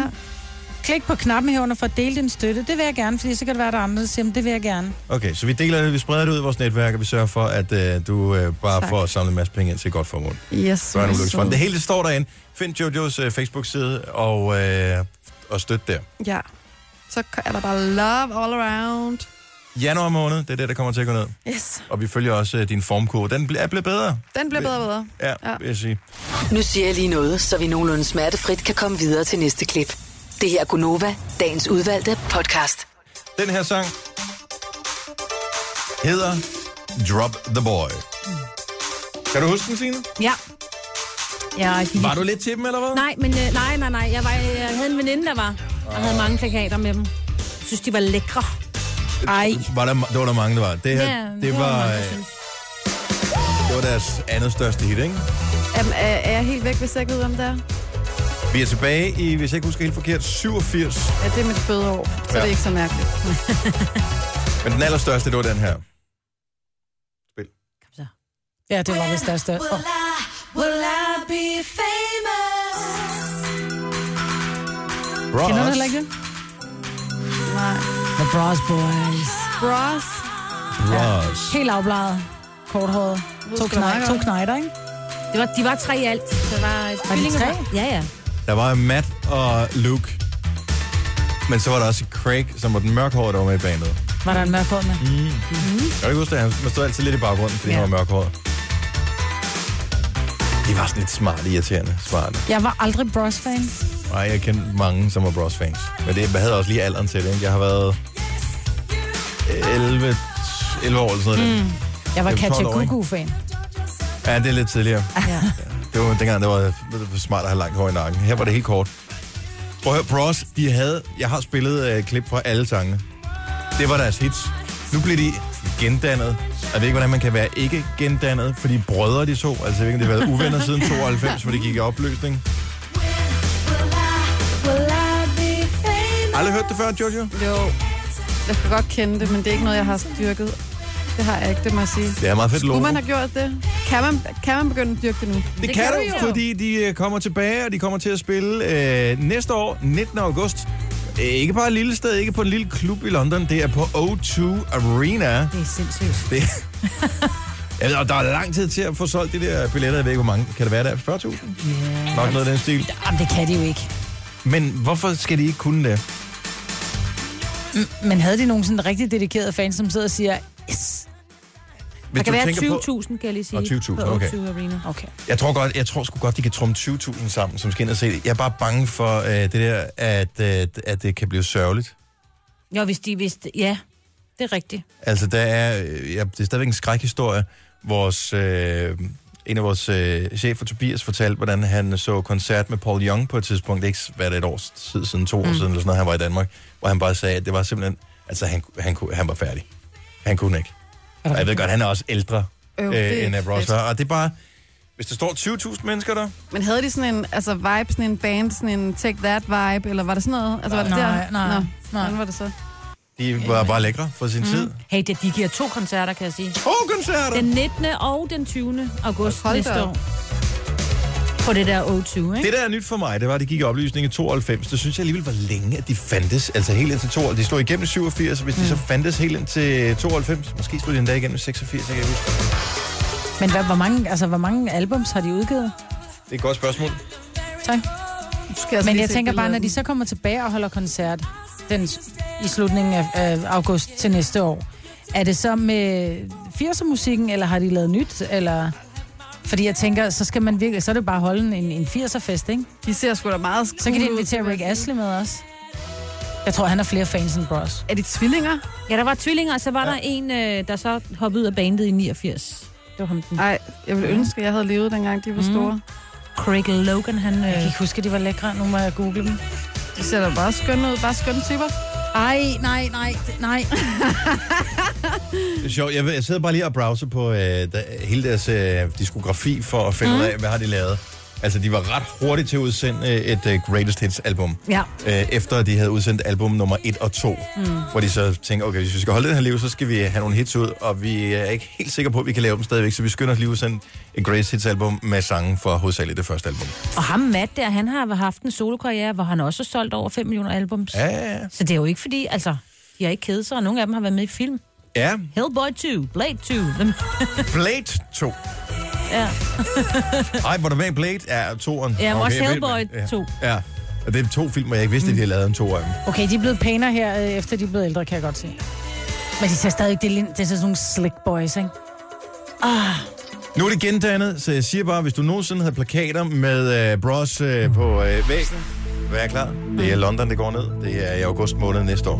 Klik på knappen herunder for at dele din støtte. Det vil jeg gerne, fordi så kan det være, at der er andre, der siger, "Men det vil jeg gerne.
Okay, så vi deler det, vi spreder det ud i vores netværk, og vi sørger for, at øh, du øh, bare
Tak.
får samlet en masse penge ind til et godt formål.
Yes,
Børne- og
hvor er du
ulykkesfonden. Det
sød.
hele det står derinde. Find Jojos øh, Facebook-side og, øh, og støt der.
Ja. Så er der bare love all around.
Januar måned, det er det, der kommer til at gå ned.
Yes.
Og vi følger også øh, din formkurve. Den bl- er blevet bedre,
Den bliver bedre og bedre.
ja, ja.
Ja.
vil jeg sige.
Nu siger jeg lige noget, så vi nogenlunde smertefrit kan komme videre til næste klip. Det her er Gunova, dagens udvalgte podcast.
Den her sang hedder Drop the Boy. Kan du huske den, Signe?
Ja. Jeg
Var du lidt til dem, eller hvad?
Nej, men øh, nej, nej, nej. Jeg, var, jeg havde en veninde, der var. Jeg havde mange plakater med dem. Jeg synes, de var lækre.
Ej.
Var der, det var der mange, der var. Det her,
Ja,
det,
det
det,
var
var,
mange, der
øh,
synes.
det var deres andet største hit, ikke?
Jamen, er, er jeg helt væk, hvis jeg ikke ved, hvem det er?
Vi er tilbage i, hvis jeg ikke husker helt forkert, 87.
Ja, det er mit fødeår, så
Ja.
ja. det er ikke så mærkeligt.
Men den allerstørste, det var den her. Spil.
Ja, det var vist deres største. Oh.
Ross.
Kender du heller ikke det?
Nej.
The Bros Boys.
Bros.
Ross.
Helt afbladet. Korthåret.
Det
To,
skal
knej,
meget
to
godt.
knejder, ikke?
Det var, de var tre i alt. Så var et
Var de tre?
Ja, ja.
Der var Matt og Luke. Men så var der også Craig, som var den mørkhårede, der var med i bandet.
Var der en mørkhåret med?
Mm. Jeg kan ikke huske det, han man stod altid lidt i baggrunden, fordi ja.
Ja.
han var mørkhåret. De var sådan lidt smarte, irriterende smarte.
Jeg var aldrig Bros-fan.
Nej, jeg kendte mange, som var Bros-fans. Men det, jeg havde også lige alderen til det, ikke? Jeg har været 11, 11 år eller sådan noget. Mm.
Jeg var
Det er
Katja
12 år, ikke?
Gugu-fan.
Ja, det er lidt tidligere.
Ja.
Det var dengang, det var, det var smart at have langt hår i nakken. Her var det helt kort. Prøv at høre, Bros, de havde... Jeg har spillet øh, klip fra alle sangene. Det var deres hits. Nu blev de gendannet. Jeg ved ikke, hvordan man kan være ikke gendannet, fordi brødre de to, altså jeg ved ikke, om de har været uvenner siden 92, hvor de gik i opløsning. Aldrig hørt det før, Jojo?
Jo, jeg kan godt kende det, men det er ikke noget, jeg har styrket. Det har jeg ikke, det må jeg sige.
Det er meget fedt logo.
Skulle man have gjort det? Kan man, kan man begynde at dyrke det nu?
Det, det kan, kan du, fordi de øh, kommer tilbage, og de kommer til at spille øh, næste år, 19. august. Øh, Ikke bare et lille sted, ikke på en lille klub i London. Det er på O2 Arena.
Det er sindssygt.
Det... Jeg ved, og der er lang tid til at få solgt de der billetter. Jeg ved ikke, hvor mange. Kan det være der? er 40.000? Yeah. Nok noget af den stil.
Jamen, det kan de jo ikke.
Men hvorfor skal de ikke kunne det?
Men havde de nogen sådan rigtig dedikerede fans, som sidder og siger, yes.
Hvis
Der kan
du
være
tænker på-
20.000, kan jeg lige sige.
Og 20.000,
på
okay.
O2 Arena.
Okay.
Jeg tror godt, jeg tror sgu godt, de kan trumme 20.000 sammen, som skal ind og se det. Jeg er bare bange for øh, det der, at, øh, at det kan blive sørgeligt.
Jo, hvis de vidste, ja, det er rigtigt.
Altså, der er, øh, ja, det er stadigvæk en skrækhistorie. Vores, øh, en af vores øh, chefer, Tobias, fortalte, hvordan han så koncert med Paul Young på et tidspunkt. Det er ikke hvad er det, et år tid siden, to år mm. siden, eller sådan noget, han var i Danmark. Hvor han bare sagde, at det var simpelthen... Altså, han, han, kunne, han var færdig. Han kunne ikke. Og jeg ved godt, han er også ældre
Øv, det er
øh, end
ikke
Ab Ross
fedt.
var. Og det er bare... Hvis der står 20.000 mennesker der,
Men havde de sådan en altså vibe, sådan en band, sådan en take that vibe, eller var det sådan noget? Altså, var det
Nej,
der?
nej,
Nå,
nej.
Hvordan var det så?
de var bare lækre for sin mm. tid.
Hey, det, de giver to koncerter, kan jeg sige.
To koncerter!
Den 19. og den 20. august
Hold da
næste
op.
år. På det der O2, ikke?
Det, der er nyt for mig, det var, at de gik i oplysning i 92. Det synes jeg alligevel var længe, at de fandtes. Altså helt indtil 92. De slog igennem i 87, hvis mm. de så fandtes helt indtil 92. Måske slog de endda igennem i 86, jeg kan ikke huske.
Men hvad, hvor, mange, altså, hvor mange albums har de udgivet?
Det er et godt spørgsmål.
Tak.
Nu skal
Men
altså lige
jeg
se
tænker bare,
billedet
når
af
de så kommer tilbage og holder koncert den, i slutningen af, af august til næste år, er det så med 80'er-musikken, eller har de lavet nyt? Eller... Fordi jeg tænker, så skal man virkelig, så er det bare at holde en, en 80'er-fest, ikke?
dem. De ser sgu da meget
Så kan de
cool ud,
invitere
vil jeg
Rick
sige.
Astley med os. Jeg tror, han har flere fans end Bros.
Er de tvillinger?
Ja, der var tvillinger, og så var ja. der en, øh, der så hoppede ud af bandet i 89. Det var ham den.
Nej, jeg ville
Mm.
ønske, at jeg havde levet dengang, de var store.
Craig Logan, han...
Jeg
Øh,
kan ikke huske, at de var lækre. Nu må jeg google dem.
De ser da bare skønne ud, bare skønne typer.
Ej, nej, nej, nej.
Det er sjovt. Jeg, ved- jeg sidder bare lige og browser på øh, der, hele deres øh, diskografi for at finde ud af, hvad har de lavet. Altså, de var ret hurtigt til at udsende øh, et øh, Greatest Hits-album.
Ja.
Øh, efter de havde udsendt album nummer 1 og 2. Mm. Hvor de så tænker, okay, hvis vi skal holde den her liv, så skal vi have nogle hits ud. Og vi er ikke helt sikre på, at vi kan lave dem stadigvæk. Så vi skynder os lige at udsende et Greatest Hits-album med sange fra hovedsageligt det første album.
Og ham Matt der, han har haft en solokarriere, hvor han også har solgt over 5 millioner albums.
Ja, ja, ja.
Så det er jo ikke fordi, altså, de har ikke kedet sig, og nogle af dem har været med i film.
Ja,
Hellboy 2, Blade 2.
Blade 2.
ja.
Ej, var du med i Blade? Ja, toeren.
Ja, men også
jeg ved,
Hellboy
men- ja.
2.
Ja, og det er to film, jeg ikke vidste, at de havde lavet en to af dem.
Okay, de er blevet pænere her, øh, efter de er blevet ældre, kan jeg godt se. Men de ser stadig det, er lin- det er sådan nogle slick boys, ikke? Ah,
Nu er det gendannet, så jeg siger bare, hvis du nogensinde havde plakater med øh, bros øh, på øh, væggen, vær klar. Det er London, det går ned. Det er i august måned næste år.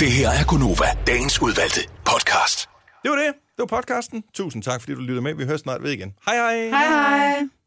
Det her er Gunova, dagens udvalgte podcast.
Det var det. Det var podcasten. Tusind tak, fordi du lyttede med. Vi høres snart ved igen. Hej hej.
Hej hej.